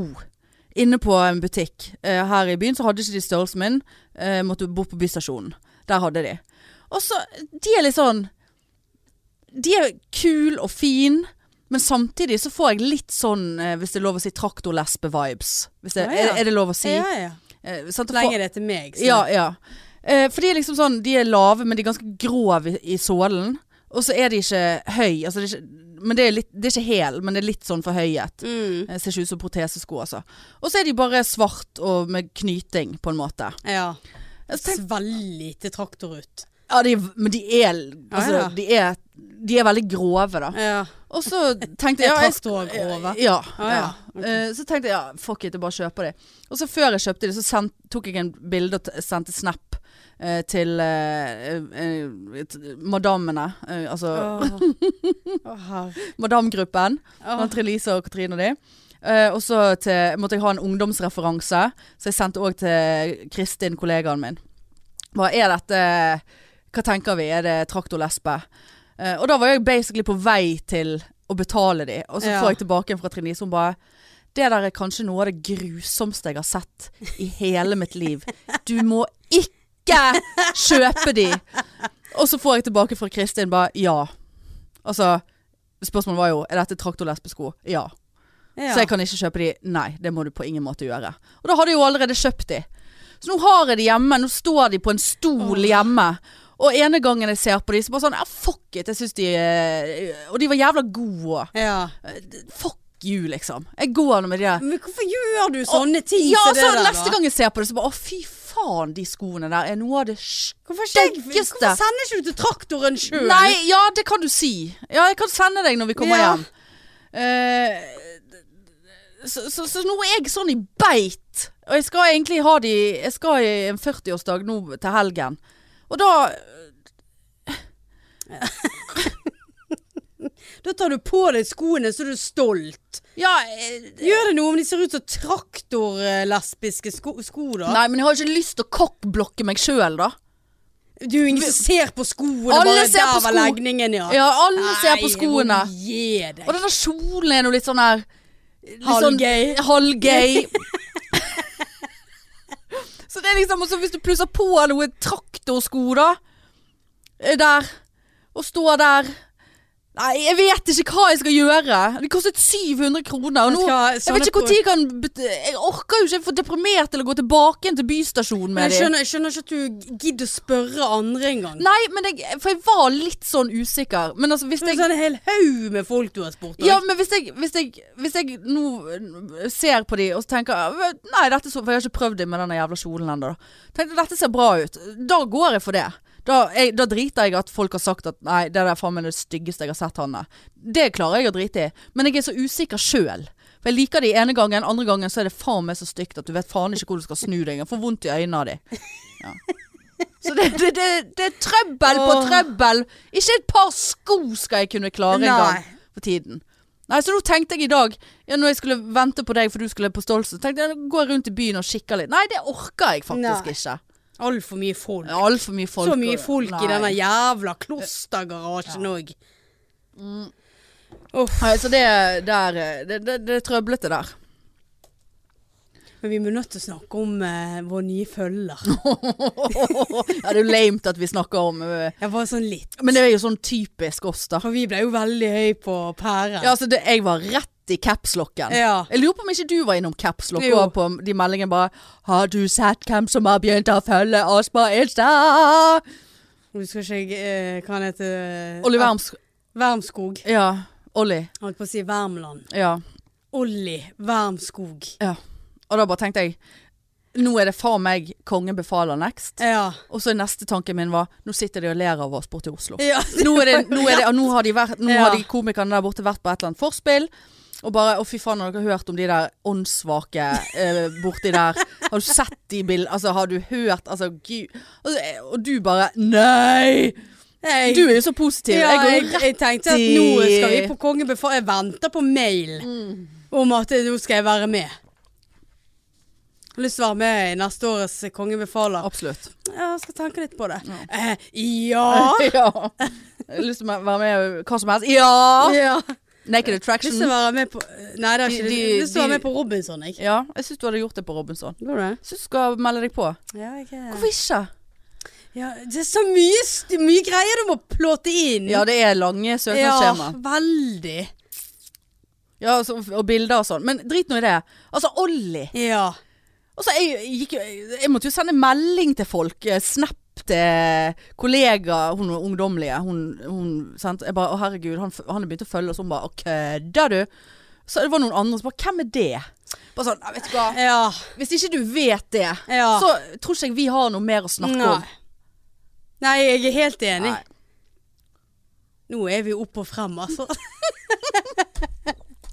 Speaker 1: inne på en butikk eh, her i byen. Så hadde ikke de størrelsen min. Eh, måtte bort på bystasjonen. Der hadde de. Og så De er litt sånn De er kul og fin. Men samtidig så får jeg litt sånn, eh, hvis det er lov å si, traktorlesbe-vibes. Hvis det-
Speaker 2: Ja,
Speaker 1: Er,
Speaker 2: ja.
Speaker 1: er det lov å si?
Speaker 2: Ja, ja.
Speaker 1: Eh, sant? Jeg får-
Speaker 2: Lenger det til meg. så-
Speaker 1: ja, ja. Eh, for de er liksom sånn, de er lave, men de er ganske grove i, i sålen. Og så er de ikke høy, altså det er ikke, men det er, litt, det er ikke hel, men det er litt sånn forhøyet.
Speaker 2: Mm.
Speaker 1: Eh, ser ikke ut som protesesko, altså. Og så er de bare svart og med knyting, på en måte.
Speaker 2: Ja.
Speaker 1: Jeg tenkte,
Speaker 2: Svellete traktor ut.
Speaker 1: ja, de, men de er, altså,
Speaker 2: Ja, ja.
Speaker 1: De, er, de er veldig grove, da.
Speaker 2: Ja.
Speaker 1: Og så tenkte jeg
Speaker 2: Er
Speaker 1: ja, jeg
Speaker 2: traktorer grove?
Speaker 1: Ja.
Speaker 2: Ah,
Speaker 1: ja.
Speaker 2: ja.
Speaker 1: Eh, Så tenkte jeg ja, fuck it, jeg bare kjøper det. Og så før jeg kjøpte det, så sendt, tok jeg en bilde og t- sendte snap eh, til eh, eh, t- madammene. eh, altså
Speaker 2: Åh. Åh, herre.
Speaker 1: madamgruppen.
Speaker 2: Åh.
Speaker 1: Blant Trine-Lise og Katrine og de. Eh, og så til- måtte jeg ha en ungdomsreferanse, så jeg sendte òg til Kristin, kollegaen min. Hva er dette Hva tenker vi? Er det traktorlesbe? Eh, og da var jeg basically på vei til å betale de, og så
Speaker 2: Ja.
Speaker 1: får jeg tilbake fra Trine-Lise, hun bare det der er kanskje noe av det grusomste jeg har sett i hele mitt liv. Du må ikke kjøpe de! Og så får jeg tilbake fra Kristin bare ja. Altså, spørsmålet var jo er dette traktorlesbesko. Ja.
Speaker 2: Ja.
Speaker 1: Så jeg kan ikke kjøpe de. Nei, det må du på ingen måte gjøre. Og da hadde jeg jo allerede kjøpt de. Så nå har jeg de hjemme. Nå står de på en stol
Speaker 2: Åh.
Speaker 1: hjemme. Og ene gangen jeg ser på de, så bare sånn ah, Fuck it, jeg syns de eh, Og de var jævla gode.
Speaker 2: ja.
Speaker 1: Fuck you, liksom. Jeg går nå med de der.
Speaker 2: Men hvorfor gjør du sånne ting
Speaker 1: Ja,
Speaker 2: som
Speaker 1: og
Speaker 2: det
Speaker 1: så
Speaker 2: der,
Speaker 1: neste
Speaker 2: da?
Speaker 1: gang jeg ser på det, så bare Å, fy faen, de skoene der er noe av det st-
Speaker 2: Hvorfor, ikke, jeg-
Speaker 1: Styggeste.
Speaker 2: hvorfor sender ikke du til traktoren sjøl?
Speaker 1: Nei, ja, det kan du si. Ja, jeg kan sende deg når vi kommer
Speaker 2: Ja.
Speaker 1: hjem. Eh, så, så, så nå er jeg sånn i beit. Og jeg skal egentlig ha de Jeg skal i en 40-årsdag nå til helgen. Og da
Speaker 2: Da tar du på deg skoene, så er du stolt.
Speaker 1: Ja, eh,
Speaker 2: Gjør det noe om de ser ut som traktorlesbiske sko, sko, da?
Speaker 1: nei, men jeg har ikke lyst til å kokkblokke meg sjøl, da.
Speaker 2: Det er jo ingen som ser på skoene,
Speaker 1: Alle
Speaker 2: bare
Speaker 1: ser på
Speaker 2: der var
Speaker 1: sko-
Speaker 2: legningen, ja.
Speaker 1: Ja, alle ser på
Speaker 2: Nei,
Speaker 1: skoene.
Speaker 2: må du Gi deg.
Speaker 1: Og denne kjolen er nå litt sånn her litt sånn-
Speaker 2: Halvgay. <laughs>
Speaker 1: Halvgay. så det er liksom Og så hvis du plusser på noe traktorsko, da. eh, Der. Og står der. Nei, jeg vet ikke hva jeg skal gjøre. Det kostet 700 kroner.
Speaker 2: Vet
Speaker 1: Og nå,
Speaker 2: du hva,
Speaker 1: jeg vet
Speaker 2: sånne
Speaker 1: ikke
Speaker 2: ko-
Speaker 1: når jeg kan bet- Jeg orker jo ikke. Jeg er for deprimert til å gå tilbake igjen til
Speaker 2: Men
Speaker 1: bystasjonen med
Speaker 2: jeg
Speaker 1: dem.
Speaker 2: skjønner, jeg skjønner ikke at du gidder å spørre andre engang.
Speaker 1: Nei, men jeg, for jeg var litt sånn usikker. Men altså, hvis
Speaker 2: Det
Speaker 1: jeg
Speaker 2: er sånn en hel haug med folk du har spurt om.
Speaker 1: Ja, men hvis jeg, hvis jeg, hvis jeg nå øh, ser på de og så tenker jeg, Nei, dette så, for jeg har ikke prøvd det med denne jævla kjolen ennå. da. Tenkte dette ser bra ut. Da går jeg for det. Da, jeg, da driter jeg at folk har sagt at nei, det der er faen meg det styggeste jeg har sett Hanne. Det klarer jeg å drite i. Men jeg er så usikker sjøl. For jeg liker de ene gangen, andre gangen så er det faen meg så stygt at du vet faen ikke hvor du skal snu deg. Jeg får vondt i øynene av de. Ja. Så det, det, det, det er trøbbel på
Speaker 2: Åh.
Speaker 1: trøbbel. Ikke et par sko skal jeg kunne klare
Speaker 2: Nei.
Speaker 1: engang for tiden. Nei, så nå tenkte jeg i dag ja, Når jeg skulle vente på deg for du skulle på Stolsen Tenkte jeg, nå går jeg rundt i byen og kikker litt Nei, det orker jeg faktisk
Speaker 2: Nei.
Speaker 1: ikke
Speaker 2: Altfor mye folk.
Speaker 1: Det er alt for mye folk
Speaker 2: Så mye
Speaker 1: og-
Speaker 2: folk
Speaker 1: Nei.
Speaker 2: i denne jævla klostergarasjen òg.
Speaker 1: Mm.
Speaker 2: Uff.
Speaker 1: Nei, så det, der, det, det, det er trøblete der <laughs>
Speaker 2: Men vi må nødt til å snakke om eh, vår nye følger.
Speaker 1: Ja, det er jo lamet at vi snakker om øh,
Speaker 2: Jeg var sånn litt.
Speaker 1: Men det er jo sånn typisk oss da
Speaker 2: For vi ble jo veldig høy på pæren.
Speaker 1: Ja, altså, det, jeg var rett i capslocken
Speaker 2: Ja.
Speaker 1: Jeg lurer på om ikke du var innom capslock
Speaker 2: Jo.
Speaker 1: Og på de meldingene bare Har du sett hvem som har begynt å følge Aspa Elstad?
Speaker 2: Nå skal ikke jeg eh, Hva han heter
Speaker 1: Oliver Erms
Speaker 2: Værmskog.
Speaker 1: Ja. Olli.
Speaker 2: Holdt på å si Värmland.
Speaker 1: Ja.
Speaker 2: Olli Værmskog.
Speaker 1: ja. Og da bare tenkte jeg Nå er det faen meg kongen befaler next.
Speaker 2: Ja.
Speaker 1: Og så neste tanken min var Nå sitter de og ler av oss borte i Oslo.
Speaker 2: ja.
Speaker 1: Nå, er det, nå, er det, nå har de, vært, nå
Speaker 2: Ja.
Speaker 1: har de komikerne der borte vært på et eller annet forspill. Og bare, å fy faen, har dere hørt om de der åndssvake eh, borti der? Har du sett de bildene? Altså, har du hørt? Altså, gud. Og, og du bare, nei!
Speaker 2: Jeg,
Speaker 1: Du er jo så positiv.
Speaker 2: ja,
Speaker 1: jeg går
Speaker 2: jeg,
Speaker 1: jo
Speaker 2: jeg tenkte at
Speaker 1: i-
Speaker 2: nå skal vi på kongebefa... Jeg venter på mail
Speaker 1: Mm.
Speaker 2: om at eh, nå skal jeg være med. Jeg har lyst til å være med i neste årets Kongen befaler.
Speaker 1: Absolutt.
Speaker 2: Ja, jeg skal tenke litt på det. Eh, ja.
Speaker 1: <laughs> Ja. Jeg har lyst til å være med i hva som helst. Ja!
Speaker 2: ja.
Speaker 1: Naked
Speaker 2: Lyst til å
Speaker 1: Attraction.
Speaker 2: være med på Nei, det har
Speaker 1: De-
Speaker 2: ikke
Speaker 1: de-
Speaker 2: lyst til å
Speaker 1: de-
Speaker 2: være med på Robinson, jeg.
Speaker 1: Ja, jeg syns du hadde gjort det på Robinson.
Speaker 2: Går det?
Speaker 1: Jeg syns du skal melde deg på.
Speaker 2: Ja, jeg er-
Speaker 1: Hvorfor ikke?
Speaker 2: ja, det er så mye, st- mye greier du må plåte inn.
Speaker 1: Ja, det er lange søknadsskjema.
Speaker 2: Ja, veldig.
Speaker 1: Ja, altså, og bilder og sånn. Men drit nå i det. Altså, Olli.
Speaker 2: Ja.
Speaker 1: Altså, jeg, gikk, jo- jeg måtte jo sende melding til folk. eh, Snap til kollegaer, hun ungdommelige. Hun, hun sant? Jeg bare, å herregud, han, f- han er begynt å følge oss. Hun bare, å kødder du? Så det var noen andre som bare, hvem er det? Bare sånn, «Nei, vet du hva.
Speaker 2: Ja.
Speaker 1: Hvis ikke du vet det,
Speaker 2: ja.
Speaker 1: så tror ikke jeg vi har noe mer å snakke om.
Speaker 2: Nei. Nei, jeg er helt enig.
Speaker 1: Nei.
Speaker 2: Nå er vi opp og frem,
Speaker 1: <laughs>
Speaker 2: altså.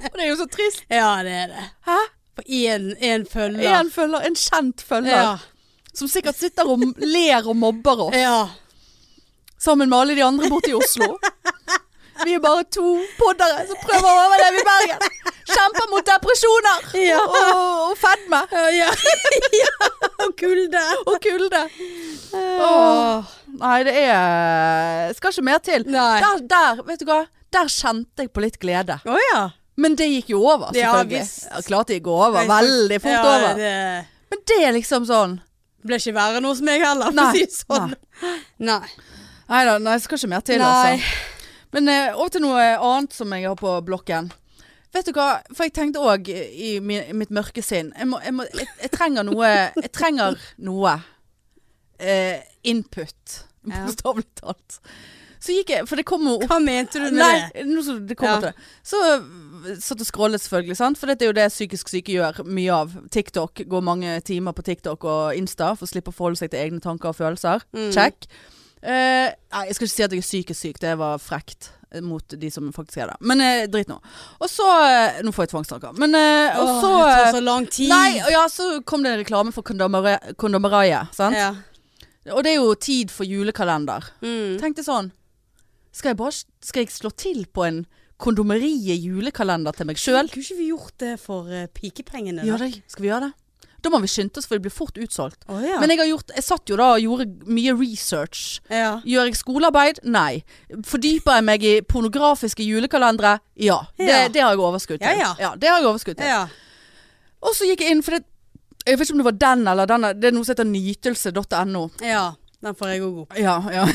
Speaker 1: Og det er jo så trist.
Speaker 2: Ja, det er det.
Speaker 1: Hæ?
Speaker 2: På én, én følger.
Speaker 1: En følger, en kjent følger,
Speaker 2: Ja.
Speaker 1: som sikkert sitter og ler og mobber oss.
Speaker 2: ja. <laughs>
Speaker 1: Sammen med alle de andre borte i Oslo. Vi er bare to poddere som prøver å overleve i Bergen. Kjemper mot depresjoner
Speaker 2: Ja.
Speaker 1: og, og fedme
Speaker 2: Ja, ja. Og kulde.
Speaker 1: og kulde.
Speaker 2: Eh. Åh.
Speaker 1: Nei, det er Skal ikke mer til.
Speaker 2: Nei.
Speaker 1: Der, der, vet du hva. Der kjente jeg på litt glede.
Speaker 2: Å ja.
Speaker 1: Men det gikk jo over,
Speaker 2: Ja,
Speaker 1: selvfølgelig.
Speaker 2: visst.
Speaker 1: Ja, Klart det gikk over. Veldig fort
Speaker 2: ja,
Speaker 1: over.
Speaker 2: Det
Speaker 1: Men det er liksom sånn
Speaker 2: ble ikke verre enn hos meg heller, for å
Speaker 1: Nei,
Speaker 2: si det sånn. Nei.
Speaker 1: Nei da, nei, skal ikke mer til,
Speaker 2: Nei.
Speaker 1: altså. Men eh, over til noe annet som jeg har på blokken. Vet du hva, for jeg tenkte òg i min, mitt mørke sinn jeg, må, jeg, må, jeg, jeg trenger noe Jeg trenger noe eh, input,
Speaker 2: Ja.
Speaker 1: bokstavelig talt. Så gikk jeg For det kom jo opp
Speaker 2: Hva mente du med
Speaker 1: Nei,
Speaker 2: det?
Speaker 1: nå som det kommer
Speaker 2: Ja.
Speaker 1: til det. Så øh, satt og scrollet selvfølgelig, sant? for dette er jo det psykisk syke gjør mye av. TikTok, går mange timer på TikTok og Insta for å slippe å forholde seg til egne tanker og følelser.
Speaker 2: Mm.
Speaker 1: Check. Eh, nei, jeg skal ikke si at jeg er psykisk syk, det var frekt eh, mot de som faktisk er det. Men eh, drit nå. Og så eh, Nå får jeg tvangstanker. Men eh, Og
Speaker 2: Åh,
Speaker 1: så
Speaker 2: det tar
Speaker 1: eh,
Speaker 2: så lang tid.
Speaker 1: Nei, og ja, så kom det en reklame for kondomere- kondomeriet, sant.
Speaker 2: ja.
Speaker 1: Og det er jo tid for julekalender.
Speaker 2: Mm.
Speaker 1: Tenkte sånn Skal jeg bare skal jeg slå til på en kondomerie julekalender til meg sjøl?
Speaker 2: Kunne ikke vi gjort det for eh, pikepengene?
Speaker 1: Ja, det- skal vi gjøre det? Da må vi skynde oss, for det blir fort utsolgt.
Speaker 2: Å ja.
Speaker 1: Men jeg, har gjort, jeg satt jo da og gjorde mye research.
Speaker 2: ja.
Speaker 1: Gjør jeg skolearbeid? Nei. Fordyper jeg meg i pornografiske julekalendere? Ja. Det,
Speaker 2: Ja.
Speaker 1: det har jeg overskudd til.
Speaker 2: Ja, ja.
Speaker 1: det har jeg overskudd til.
Speaker 2: ja.
Speaker 1: Og så gikk jeg inn, for det, jeg vet ikke om det var den eller denne, det er noe som heter nytelse.no.
Speaker 2: Ja. Den får jeg òg opp.
Speaker 1: Ja, ja.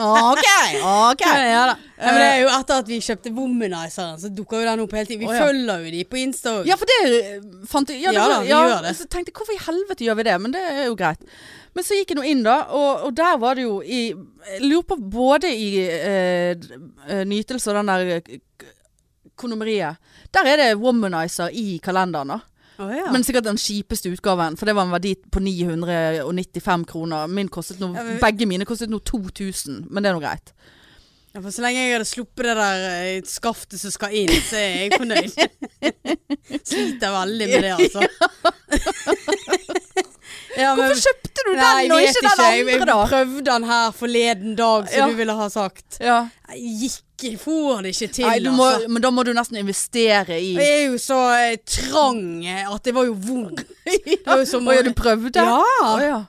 Speaker 1: ok, ok.
Speaker 2: Ja, ja da. Nei, men det er jo etter at vi kjøpte Womanizeren, så dukker jo den opp hele tiden. Vi
Speaker 1: Å, ja.
Speaker 2: følger jo de på Insta òg.
Speaker 1: Ja, for det eh, fant jeg ja, det
Speaker 2: Ja da,
Speaker 1: var-
Speaker 2: vi
Speaker 1: ja,
Speaker 2: gjør det.
Speaker 1: Så tenkte jeg, hvorfor i helvete gjør vi det? Men det er jo greit. Men så gikk jeg nå inn, da, og, og der var det jo i Jeg lurer på både i eh, d- eh, nytelse og den der eh, k- kondomeriet. Der er det womanizer i kalenderen, da.
Speaker 2: Å, ja.
Speaker 1: Men sikkert den kjipeste utgaven, for det var en verdi på 995 kroner. Min kostet nå,
Speaker 2: Ja, men-
Speaker 1: Begge mine kostet nå 2000, men det er nå greit.
Speaker 2: ja, for så lenge jeg hadde sluppet det der eh, skaftet som skal inn, så er jeg fornøyd. <laughs> Sliter veldig med det, altså. ja, men-
Speaker 1: Hvorfor kjøpte du den,
Speaker 2: Nei,
Speaker 1: og
Speaker 2: jeg
Speaker 1: ikke
Speaker 2: vet
Speaker 1: den
Speaker 2: Jeg,
Speaker 1: andre,
Speaker 2: jeg
Speaker 1: da?
Speaker 2: prøvde den her forleden dag, som
Speaker 1: Ja.
Speaker 2: du ville ha sagt.
Speaker 1: Ja.
Speaker 2: Jeg gikk, jeg får det ikke til,
Speaker 1: Nei, du må,
Speaker 2: altså.
Speaker 1: men da må du nesten investere i
Speaker 2: Og Jeg er jo så eh, trang eh, at det var jo <laughs> vondt. Det var jo som
Speaker 1: Å ja, du prøvde?
Speaker 2: Ja.
Speaker 1: Å, ja.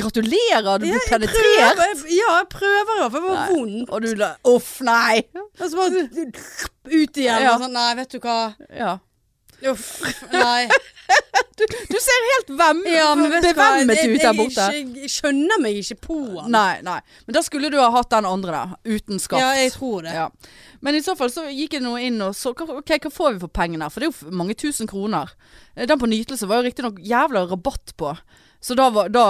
Speaker 1: Gratulerer, du ble
Speaker 2: prøver,
Speaker 1: penetrert.
Speaker 2: jeg- ja, jeg prøver i hvert fall. Det var vondt.
Speaker 1: Og du la Uff, nei.
Speaker 2: Og så bare ut igjen.
Speaker 1: Ja.
Speaker 2: Og sånn, nei, vet du hva.
Speaker 1: Ja.
Speaker 2: Uff,
Speaker 1: <laughs>
Speaker 2: nei.
Speaker 1: Du ser helt hvem,
Speaker 2: Ja, men vet du hva?
Speaker 1: bevemmet
Speaker 2: Jeg-
Speaker 1: ut der borte.
Speaker 2: Jeg, jeg skjønner meg ikke på den.
Speaker 1: Nei, nei. Men da skulle du ha hatt den andre, da. Uten skaft.
Speaker 2: Ja, jeg tror det.
Speaker 1: Ja. Men i så fall så gikk jeg nå inn og så hva- Ok, hva får vi for pengene? her? For det er jo f- mange tusen kroner. Eh, Den på nytelse var jo riktignok jævla rabatt på. Så da, var, da,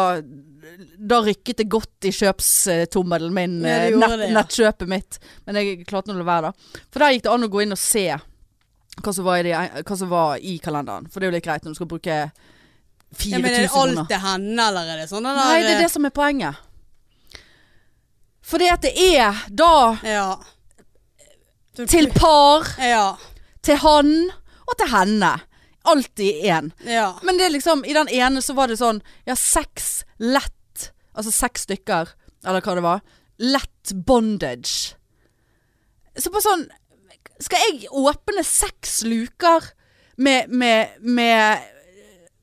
Speaker 1: da rykket det godt i kjøpstommelen min.
Speaker 2: Ja, det
Speaker 1: eh,
Speaker 2: gjorde
Speaker 1: nett,
Speaker 2: det, ja.
Speaker 1: Nettkjøpet mitt. Men jeg klarte nå å la være, da. For der gikk det an å gå inn og se hva som var i, det, hva som var i kalenderen. For det er jo litt greit når du skal bruke
Speaker 2: Ja,
Speaker 1: 4000
Speaker 2: men er det
Speaker 1: kroner.
Speaker 2: alt til henne, eller er det sånn? den
Speaker 1: Nei,
Speaker 2: der,
Speaker 1: det er det som er poenget. Fordi at det er da
Speaker 2: Ja. Så-
Speaker 1: til par,
Speaker 2: Ja.
Speaker 1: til han og til henne. Alltid én.
Speaker 2: Ja.
Speaker 1: Men det er liksom, i den ene så var det sånn Ja, seks lett Altså seks stykker, eller hva det var. Lett bondage. Så bare sånn Skal jeg åpne seks luker med, med, med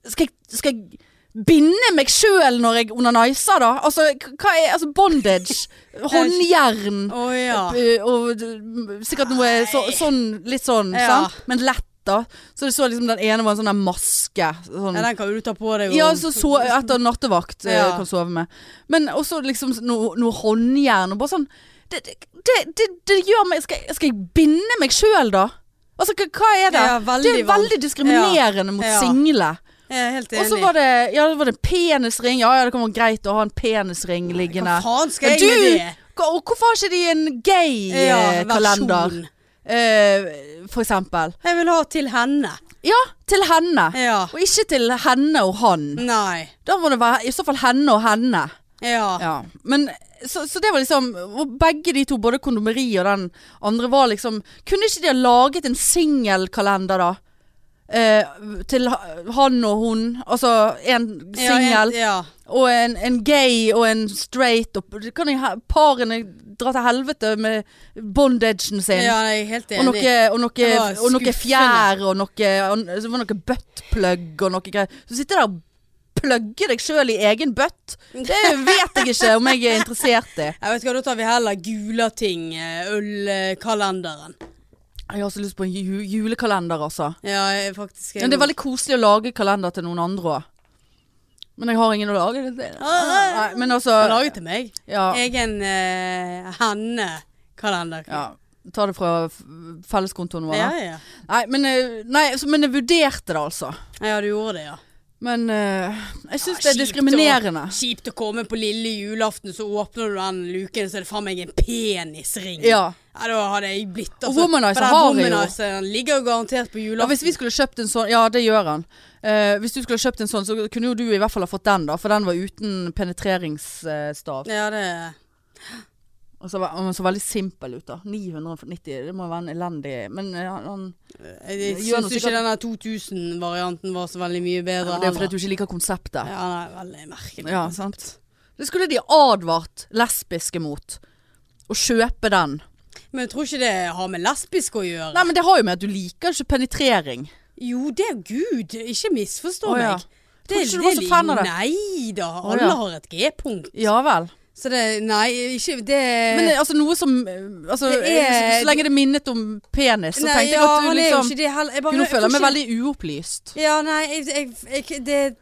Speaker 1: skal, jeg, skal jeg binde meg sjøl når jeg onaniser, da? Altså, k- hva er altså bondage? Håndjern.
Speaker 2: Å ja.
Speaker 1: Eh, Og d- sikkert noe så, sånn, litt sånn,
Speaker 2: Ja.
Speaker 1: sant? Men lett da. Så det så liksom den ene var en sånn der maske. Sånn.
Speaker 2: ja. Den kan jo du ta på deg. og-
Speaker 1: Ja, så, så etter nattevakt eh,
Speaker 2: Ja.
Speaker 1: kan sove med. Men også liksom s- noe, noe håndjern og bare sånn Det, det, det, det, det gjør meg Skal, jeg- skal jeg binde meg sjøl, da? Altså, hva, hva er det?
Speaker 2: Ja, veldig
Speaker 1: det er veldig
Speaker 2: vanskelig.
Speaker 1: diskriminerende mot
Speaker 2: Ja.
Speaker 1: single.
Speaker 2: Jeg er helt enig.
Speaker 1: Og så var det, ja, det var det penisring. Ja ja, det kan være greit å ha en penisring liggende.
Speaker 2: Hva faen skal jeg
Speaker 1: du, eh,
Speaker 2: med det?
Speaker 1: hva- og hvorfor har ikke de en
Speaker 2: Ja,
Speaker 1: gay-kalender?
Speaker 2: versjon.
Speaker 1: Eh, for eksempel.
Speaker 2: Jeg vil ha til henne.
Speaker 1: Ja, til henne.
Speaker 2: Ja.
Speaker 1: Og ikke til henne og han.
Speaker 2: Nei.
Speaker 1: Da må det være i så fall henne og henne.
Speaker 2: Ja.
Speaker 1: Ja. Men, så, så det var liksom og Begge de to, både kondomeri og den andre, var liksom Kunne ikke de ha laget en singelkalender, da? Eh, til ha- han og hun. Altså en singel
Speaker 2: Ja,
Speaker 1: og en, en gay og en straight. Og, kan jeg ha, parene dra til helvete med bondagen
Speaker 2: en-
Speaker 1: sin?
Speaker 2: ja, jeg er helt enig.
Speaker 1: Og noe, og noe,
Speaker 2: Det var
Speaker 1: og noe
Speaker 2: skuffende.
Speaker 1: fjær og noe, og, så var det noe buttplug og noe greier. Så sitter jeg der og plugger deg sjøl i egen butt. Det vet jeg ikke om jeg er interessert i.
Speaker 2: Jeg vet ikke, Da tar vi heller Gulating, eh, ølkalenderen.
Speaker 1: Jeg har så lyst på en ju julekalender, altså.
Speaker 2: Ja, jeg, faktisk. Jeg,
Speaker 1: Men det er veldig koselig å lage kalender til noen andre òg. Men jeg har ingen å lage det
Speaker 2: Ah,
Speaker 1: til. Nei, men altså
Speaker 2: Jeg laget til meg.
Speaker 1: ja,
Speaker 2: Egen eh, henne-kalender.
Speaker 1: ja. Ta det fra f- felleskontoen vår.
Speaker 2: ja,
Speaker 1: da.
Speaker 2: ja.
Speaker 1: Nei, men, eh, nei, så- men jeg vurderte det, altså.
Speaker 2: Ja, du gjorde det, ja.
Speaker 1: Men eh, jeg syns
Speaker 2: Ja,
Speaker 1: det
Speaker 2: kjipt
Speaker 1: er diskriminerende.
Speaker 2: Å, kjipt å komme på lille julaften, så åpner du den luken, så er det faen meg en penisring.
Speaker 1: Ja.
Speaker 2: Ja, da hadde jeg blitt altså.
Speaker 1: Og womanizer
Speaker 2: for den
Speaker 1: har jeg jo.
Speaker 2: womanizeren ligger jo garantert på
Speaker 1: Ja,
Speaker 2: julaften.
Speaker 1: hvis vi skulle kjøpt en sånn Ja, det gjør han. Eh, hvis du skulle kjøpt en sånn, så kunne jo du i hvert fall ha fått den, da. For den var uten penetreringsstav.
Speaker 2: Ja, det
Speaker 1: Og så var han så veldig simpel ut, da. 990, det må være en elendig Men eh, han, han
Speaker 2: Jeg, jeg
Speaker 1: Gjør noe
Speaker 2: syns ikke
Speaker 1: sikkert-
Speaker 2: denne 2000-varianten var så veldig mye bedre.
Speaker 1: Det er fordi
Speaker 2: heller.
Speaker 1: at du ikke liker konseptet.
Speaker 2: Ja, nei, veldig merkelig.
Speaker 1: Ja, sant. Det skulle de advart lesbiske mot. Å kjøpe den.
Speaker 2: Men jeg tror ikke det har med lesbisk å gjøre.
Speaker 1: Nei, men det har jo med at du liker ikke penetrering.
Speaker 2: Jo, det er Gud. Ikke misforstå
Speaker 1: Å, ja.
Speaker 2: meg.
Speaker 1: Tror ikke du var så
Speaker 2: ligger-
Speaker 1: fan av det.
Speaker 2: Nei da,
Speaker 1: Å,
Speaker 2: alle
Speaker 1: ja.
Speaker 2: har et G-punkt.
Speaker 1: Ja vel.
Speaker 2: Så det Nei, ikke det
Speaker 1: Men eh, altså noe som eh, altså,
Speaker 2: Det er-
Speaker 1: Så lenge det minnet om penis, så
Speaker 2: Nei,
Speaker 1: tenkte jeg
Speaker 2: ja,
Speaker 1: at du
Speaker 2: han er jo
Speaker 1: liksom
Speaker 2: ikke det heller. Jeg bare-
Speaker 1: Gud, nå
Speaker 2: jeg
Speaker 1: føler
Speaker 2: får
Speaker 1: jeg meg
Speaker 2: ikke-
Speaker 1: veldig uopplyst.
Speaker 2: Ja, nei, jeg, jeg, jeg det, det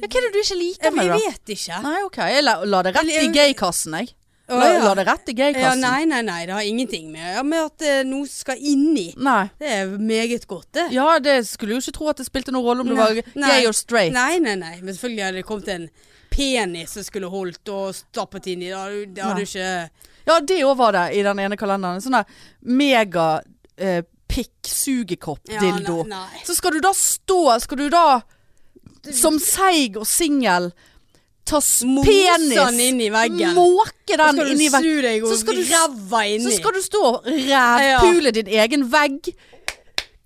Speaker 1: Ja, hva er det du ikke liker
Speaker 2: Jeg,
Speaker 1: med det? da?
Speaker 2: vet ikke.
Speaker 1: Nei, ok. Jeg la, la det rett i
Speaker 2: Jeg-
Speaker 1: gaykassen, jeg.
Speaker 2: Å,
Speaker 1: La,
Speaker 2: ja.
Speaker 1: la det rett i
Speaker 2: Ja,
Speaker 1: gaykassen.
Speaker 2: nei, nei, nei, det har ingenting med, ja, med at eh, noe skal inni.
Speaker 1: Nei.
Speaker 2: Det er meget godt, det.
Speaker 1: Ja, det skulle jo ikke tro at det spilte noen rolle om du
Speaker 2: Nei.
Speaker 1: var
Speaker 2: Nei.
Speaker 1: gay or straight.
Speaker 2: Nei, nei, nei. Men selvfølgelig hadde det kommet en penis som skulle holdt og stappet inn i. Da hadde du- da hadde du ikke
Speaker 1: Ja, det òg var det i den ene kalenderen. Sånn der mega eh,
Speaker 2: ja,
Speaker 1: pikk-sugekopp-dildo.
Speaker 2: Nei, nei.
Speaker 1: Så skal du da stå Skal du da, som seig og singel, ta s-
Speaker 2: Mose
Speaker 1: penis
Speaker 2: den inn i veggen.
Speaker 1: Måke
Speaker 2: Da
Speaker 1: den
Speaker 2: skal
Speaker 1: inn
Speaker 2: du
Speaker 1: i veggen.
Speaker 2: snu deg
Speaker 1: Så
Speaker 2: og
Speaker 1: skal du-
Speaker 2: ræva inni.
Speaker 1: Så skal du stå og rævpule din egen vegg.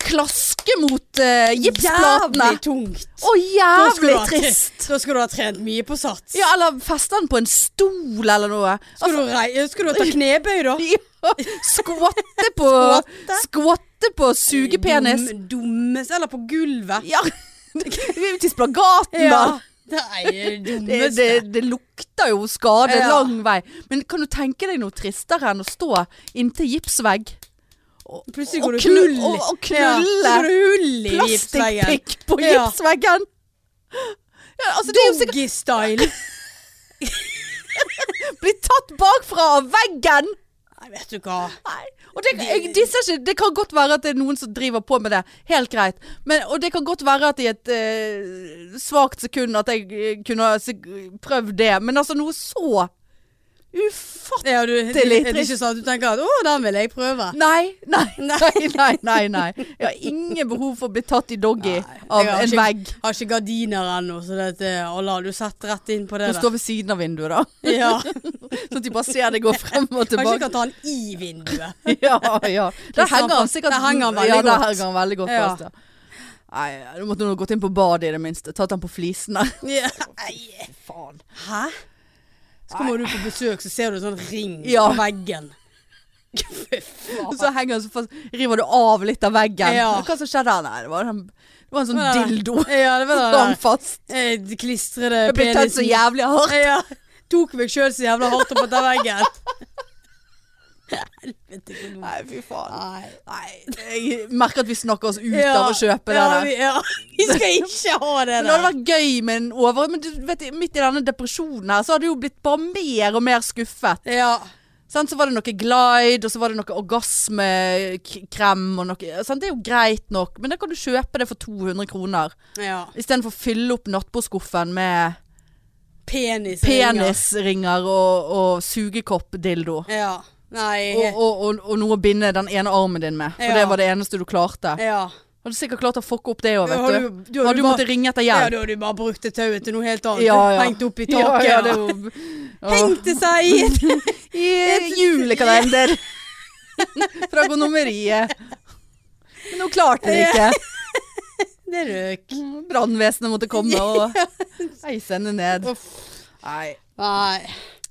Speaker 1: Klaske mot eh, gipsplatene.
Speaker 2: Jævlig tungt.
Speaker 1: Å,
Speaker 2: Da skal du
Speaker 1: jævlig
Speaker 2: ha tre-
Speaker 1: trist.
Speaker 2: Da skal du ha trent mye på sats.
Speaker 1: Ja, altså- eller feste den på en stol eller noe.
Speaker 2: Skal, du rei, skal du ta knebøy, da?
Speaker 1: Ja, skvatte på
Speaker 2: Skvatte?
Speaker 1: Skvatte på sugepenis.
Speaker 2: Dum, dummes, eller på gulvet.
Speaker 1: Ja. Til splagaten, da.
Speaker 2: Det er det
Speaker 1: <laughs> Det,
Speaker 2: dummeste.
Speaker 1: det, det lukter jo skade
Speaker 2: Ja.
Speaker 1: lang vei. Men kan du tenke deg noe tristere enn å stå inntil gipsvegg og,
Speaker 2: Plutselig
Speaker 1: og
Speaker 2: går det
Speaker 1: knu-
Speaker 2: hull i-
Speaker 1: og- og
Speaker 2: Ja,
Speaker 1: knulle
Speaker 2: så går det hull i gipsveggen.
Speaker 1: plastikkpikk på
Speaker 2: Ja.
Speaker 1: gipsveggen. Ja, altså, det er jo sikkert
Speaker 2: Doggystyle.
Speaker 1: <laughs> blitt tatt bakfra av veggen!
Speaker 2: Nei, vet du hva.
Speaker 1: Nei. Og det, jeg disser ikke. Det kan godt være at det er noen som driver på med det. Helt greit. Men, og det kan godt være at i et eh, svakt sekund at jeg eh, kunne ha sek- prøvd det. Men altså noe så ufattelig
Speaker 2: Ja, du,
Speaker 1: er litt
Speaker 2: er det ikke sånn at du tenker at 'å, den vil jeg prøve'?
Speaker 1: Nei, nei,
Speaker 2: <laughs> Nei.
Speaker 1: nei, nei, nei, nei. Jeg har ingen behov for å bli tatt i doggy
Speaker 2: Nei, jeg
Speaker 1: av
Speaker 2: har
Speaker 1: en
Speaker 2: ikke-
Speaker 1: vegg.
Speaker 2: Har ikke gardiner ennå, så det er Allah, du setter rett inn på
Speaker 1: Du
Speaker 2: det der.
Speaker 1: står ved siden av vinduet, da.
Speaker 2: <laughs>
Speaker 1: <laughs>
Speaker 2: Ja.
Speaker 1: Sånn at de bare ser deg gå frem og
Speaker 2: Kanskje <laughs> jeg
Speaker 1: tilbake.
Speaker 2: kan ta den i
Speaker 1: <laughs>
Speaker 2: vinduet.
Speaker 1: Ja, ja. Der henger han sikkert
Speaker 2: Der henger han veldig
Speaker 1: ja,
Speaker 2: godt.
Speaker 1: Der henger han veldig godt
Speaker 2: Ja.
Speaker 1: fast, ja. Nei, du måtte nå gått inn på badet i det minste. Tatt han på flisene.
Speaker 2: Ja.
Speaker 1: Faen.
Speaker 2: Hæ? Så kommer du på besøk, så ser du en sånn ring
Speaker 1: Ja.
Speaker 2: på veggen. Fy
Speaker 1: Og
Speaker 2: faen.
Speaker 1: så henger han så fast, river du av litt av veggen.
Speaker 2: Ja.
Speaker 1: Hva som skjedde her? Nei, det var, den, det var en
Speaker 2: Ja,
Speaker 1: sånn
Speaker 2: det-
Speaker 1: <laughs> dildo.
Speaker 2: Ja, det var
Speaker 1: Som hang
Speaker 2: det
Speaker 1: fast.
Speaker 2: der. eh, Klistrede
Speaker 1: Jeg ble tatt så jævlig hardt.
Speaker 2: Ja. Tok meg sjøl så jævla hardt opp etter veggen. <laughs> Helvete, hvor dumt.
Speaker 1: Nei, fy faen.
Speaker 2: Nei.
Speaker 1: Nei, jeg merker at vi snakker oss ut
Speaker 2: Ja,
Speaker 1: av å kjøpe
Speaker 2: ja,
Speaker 1: det der.
Speaker 2: Vi, ja. <laughs> vi skal ikke ha det
Speaker 1: Men det
Speaker 2: der.
Speaker 1: hadde vært gøy med en over... Men du vet, midt i denne depresjonen her, så hadde jeg jo blitt bare mer og mer skuffet.
Speaker 2: Ja.
Speaker 1: Sant? Så var det noe glide, og så var det noe orgasmekrem og noe sant? Det er jo greit nok, men da kan du kjøpe det for 200 kroner.
Speaker 2: ja.
Speaker 1: Istedenfor å fylle opp nattbordskuffen med
Speaker 2: Penis.
Speaker 1: penisringer og, og sugekopp-dildo.
Speaker 2: Ja. Nei.
Speaker 1: Og, og, og, og noe å binde den ene armen din med, for
Speaker 2: Ja.
Speaker 1: det var det eneste du klarte.
Speaker 2: ja.
Speaker 1: Hadde sikkert klart å fucke opp det òg,
Speaker 2: Har
Speaker 1: vet
Speaker 2: du-
Speaker 1: du.
Speaker 2: du- har
Speaker 1: Hadde
Speaker 2: du
Speaker 1: du måttet ringe etter
Speaker 2: Ja,
Speaker 1: hjelp.
Speaker 2: da har du bare brukt det tauet til noe helt annet.
Speaker 1: Ja, ja.
Speaker 2: Hengt opp i taket.
Speaker 1: Ja, ja,
Speaker 2: <laughs>
Speaker 1: det er jo
Speaker 2: Hengte seg i et
Speaker 1: I julekalender. <laughs> Fra gonomeriet. Men hun klarte det ikke.
Speaker 2: <laughs> Det røk.
Speaker 1: Brannvesenet måtte komme og eise henne ned. Nei.
Speaker 2: Nei.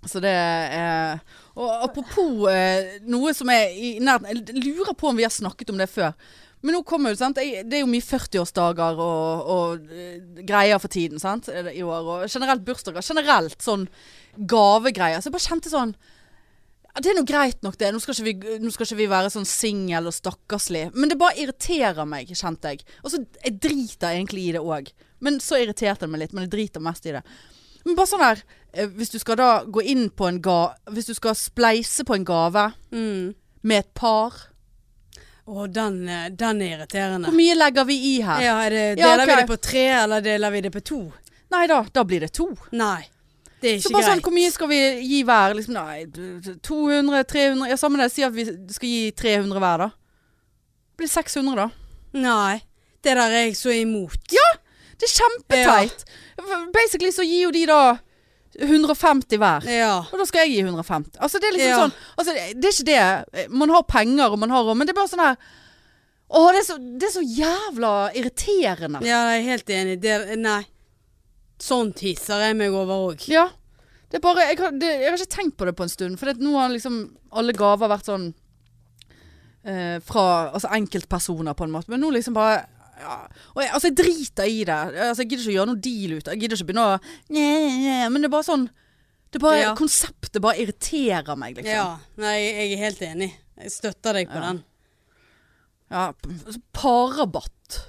Speaker 1: Så det er Og apropos eh, noe som er i nærheten Jeg lurer på om vi har snakket om det før. Men nå kommer jo, sant? Jeg, det er jo mye 40-årsdager og, og eh, greier for tiden sant? eh, i år. Og generelt bursdager. Generelt sånn gavegreier. Så jeg bare kjente sånn ja, Det er nå greit nok, det. Nå skal ikke vi, nå skal ikke vi være sånn singel og stakkarslig. Men det bare irriterer meg, kjente jeg. Og så Jeg driter egentlig i det òg. Men så irriterte det meg litt. Men jeg driter mest i det. Men bare sånn her eh, Hvis du skal da gå inn på en ga... Hvis du skal spleise på en gave
Speaker 2: Mm.
Speaker 1: med et par
Speaker 2: Å, den, eh, den er irriterende.
Speaker 1: Hvor mye legger vi i her?
Speaker 2: Ja, er det,
Speaker 1: Ja,
Speaker 2: deler
Speaker 1: ok.
Speaker 2: vi det på tre, eller deler vi det på to?
Speaker 1: Nei da, da blir det to.
Speaker 2: Nei. Det er
Speaker 1: Så
Speaker 2: ikke
Speaker 1: bare sånn,
Speaker 2: greit.
Speaker 1: hvor mye skal vi gi hver? Liksom, nei, du- du- 200, 300 Ja, samme det. Si at vi skal gi 300 hver, da. Det blir 600, da.
Speaker 2: Nei. Det der er jeg så imot.
Speaker 1: Det er kjempeteit. Basically så gir jo de da 150 hver.
Speaker 2: Ja.
Speaker 1: Og da skal jeg gi 150. Altså det er liksom
Speaker 2: Ja.
Speaker 1: sånn altså, Det er ikke det. Man har penger og man har råd, men det er bare sånn her Å, det er så, det er så jævla irriterende.
Speaker 2: Ja, jeg er helt enig. Det, nei. Sånt hisser jeg meg over òg.
Speaker 1: Ja. Det er bare jeg har, det, jeg har ikke tenkt på det på en stund, for det, at nå har liksom alle gaver vært sånn eh, Fra altså enkeltpersoner, på en måte. Men nå liksom bare ja. Og jeg, altså, jeg driter i det. Altså, jeg gidder ikke å gjøre noe deal ut. Jeg gidder ikke begynne å nye, nye, nye. Men det er bare sånn det er bare,
Speaker 2: Ja.
Speaker 1: Konseptet bare irriterer meg, liksom.
Speaker 2: Ja. Nei, jeg er helt enig. Jeg støtter deg på
Speaker 1: Ja.
Speaker 2: den.
Speaker 1: Ja, p- altså, parrabatt.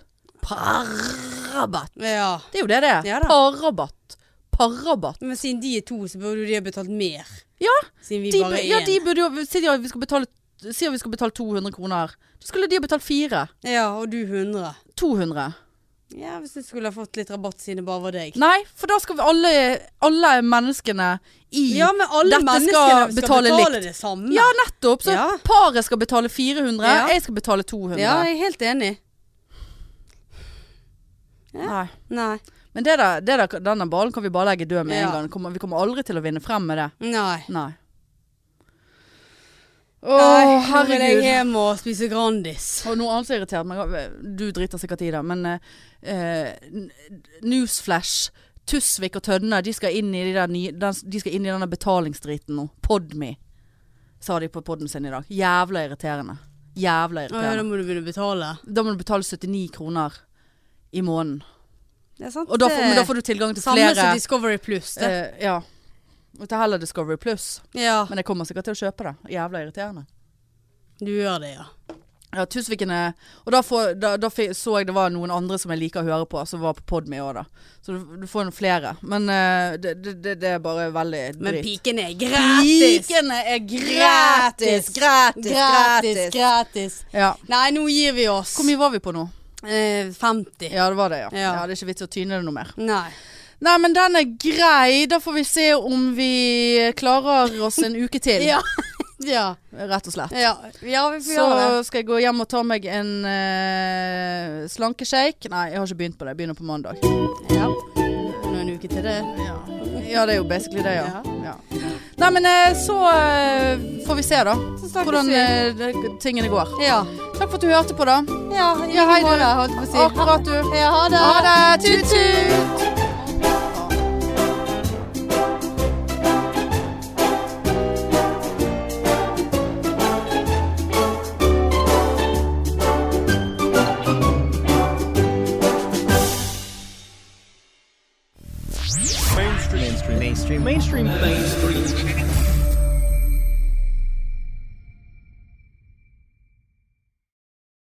Speaker 1: Parrabatt.
Speaker 2: Ja.
Speaker 1: Det er jo det det er.
Speaker 2: Ja da.
Speaker 1: parrabatt. Parrabatt.
Speaker 2: Men siden de er to, så burde jo de ha betalt mer.
Speaker 1: Ja,
Speaker 2: Siden vi
Speaker 1: De,
Speaker 2: bare
Speaker 1: bu-
Speaker 2: er
Speaker 1: ja,
Speaker 2: én.
Speaker 1: de burde jo Si at vi skal betale, si at vi skal betale 200 kroner. Da skulle de ha betalt fire.
Speaker 2: Ja, og du 100.
Speaker 1: 200.
Speaker 2: Ja, hvis jeg skulle ha fått litt rabatt siden det bare var deg.
Speaker 1: Nei, for da skal vi alle, alle menneskene i
Speaker 2: Ja, men alle
Speaker 1: Dette skal
Speaker 2: menneskene skal
Speaker 1: betale
Speaker 2: betale,
Speaker 1: likt.
Speaker 2: det samme.
Speaker 1: Ja, nettopp. Så
Speaker 2: Ja.
Speaker 1: paret skal betale 400,
Speaker 2: Ja.
Speaker 1: jeg skal betale 200.
Speaker 2: Ja, jeg er helt enig. ja.
Speaker 1: Nei.
Speaker 2: Nei.
Speaker 1: Men det der, det der, denne ballen kan vi bare legge død med
Speaker 2: Ja.
Speaker 1: en gang. Kommer- Vi kommer aldri til å vinne frem med det.
Speaker 2: Nei.
Speaker 1: Nei. Å,
Speaker 2: Nei, nå vil jeg
Speaker 1: herregud.
Speaker 2: hjem og spise Grandis.
Speaker 1: Og noe annet som irriterer meg, du driter sikkert i det, men eh, eh, n- Newsflash, Tusvik og Tønne, de skal inn i, de der nye, den, de skal inn i denne betalingsdriten nå. Podme, sa de på podden sin i dag. Jævla irriterende. Jævla
Speaker 2: Å ja, da
Speaker 1: irriterende.
Speaker 2: må du begynne å betale.
Speaker 1: Da må du betale 79 kroner i måneden.
Speaker 2: Det er sant.
Speaker 1: Og da får, men da får du tilgang til
Speaker 2: Samme
Speaker 1: flere.
Speaker 2: som Discovery Pluss. det.
Speaker 1: eh, ja. Og til heller Discovery Pluss.
Speaker 2: Ja,
Speaker 1: Men jeg kommer sikkert til å kjøpe det. Jævla irriterende.
Speaker 2: du gjør det, ja.
Speaker 1: Ja, Tusvikene Og da, får, da, da fi- så jeg det var noen andre som jeg liker å høre på, som var på Podme òg, da. Så du, du får noen flere. Men eh, det, det, det- det er bare veldig
Speaker 2: Men
Speaker 1: dritt.
Speaker 2: pikene er gratis!
Speaker 1: Pikene er gratis! Gratis!
Speaker 2: Gratis!
Speaker 1: Gratis!
Speaker 2: gratis.
Speaker 1: Ja.
Speaker 2: Nei, nå gir vi oss.
Speaker 1: Hvor mye var vi på nå?
Speaker 2: Eh, 50.
Speaker 1: Ja, det var det, ja. ja.
Speaker 2: Ja.
Speaker 1: det er ikke vits i å tyne det noe mer.
Speaker 2: Nei.
Speaker 1: Nei, men den er grei. Da får vi se om vi klarer oss en uke til,
Speaker 2: <laughs> Ja. ja.
Speaker 1: rett og slett.
Speaker 2: Ja, ja vi får gjøre det.
Speaker 1: Så skal jeg gå hjem og ta meg en uh, slankeshake. Nei, jeg har ikke begynt på det. Jeg begynner på mandag.
Speaker 2: Ja. Nå en uke til det.
Speaker 1: Ja, det er jo basically det, ja.
Speaker 2: Ja.
Speaker 1: ja. Nei, men eh, så eh, får vi se, da.
Speaker 2: Så snakkes
Speaker 1: Hvordan
Speaker 2: vi.
Speaker 1: eh, det- tingene går.
Speaker 2: Ja.
Speaker 1: Takk for at du hørte på, da.
Speaker 2: Ja,
Speaker 1: Ja, hei, du.
Speaker 2: du. Holdt på å si.
Speaker 1: Akkurat, du.
Speaker 2: Ja, ha det.
Speaker 1: Ha det. Tut-tut.
Speaker 3: mainstream mainstream mainstream mainstream mainstream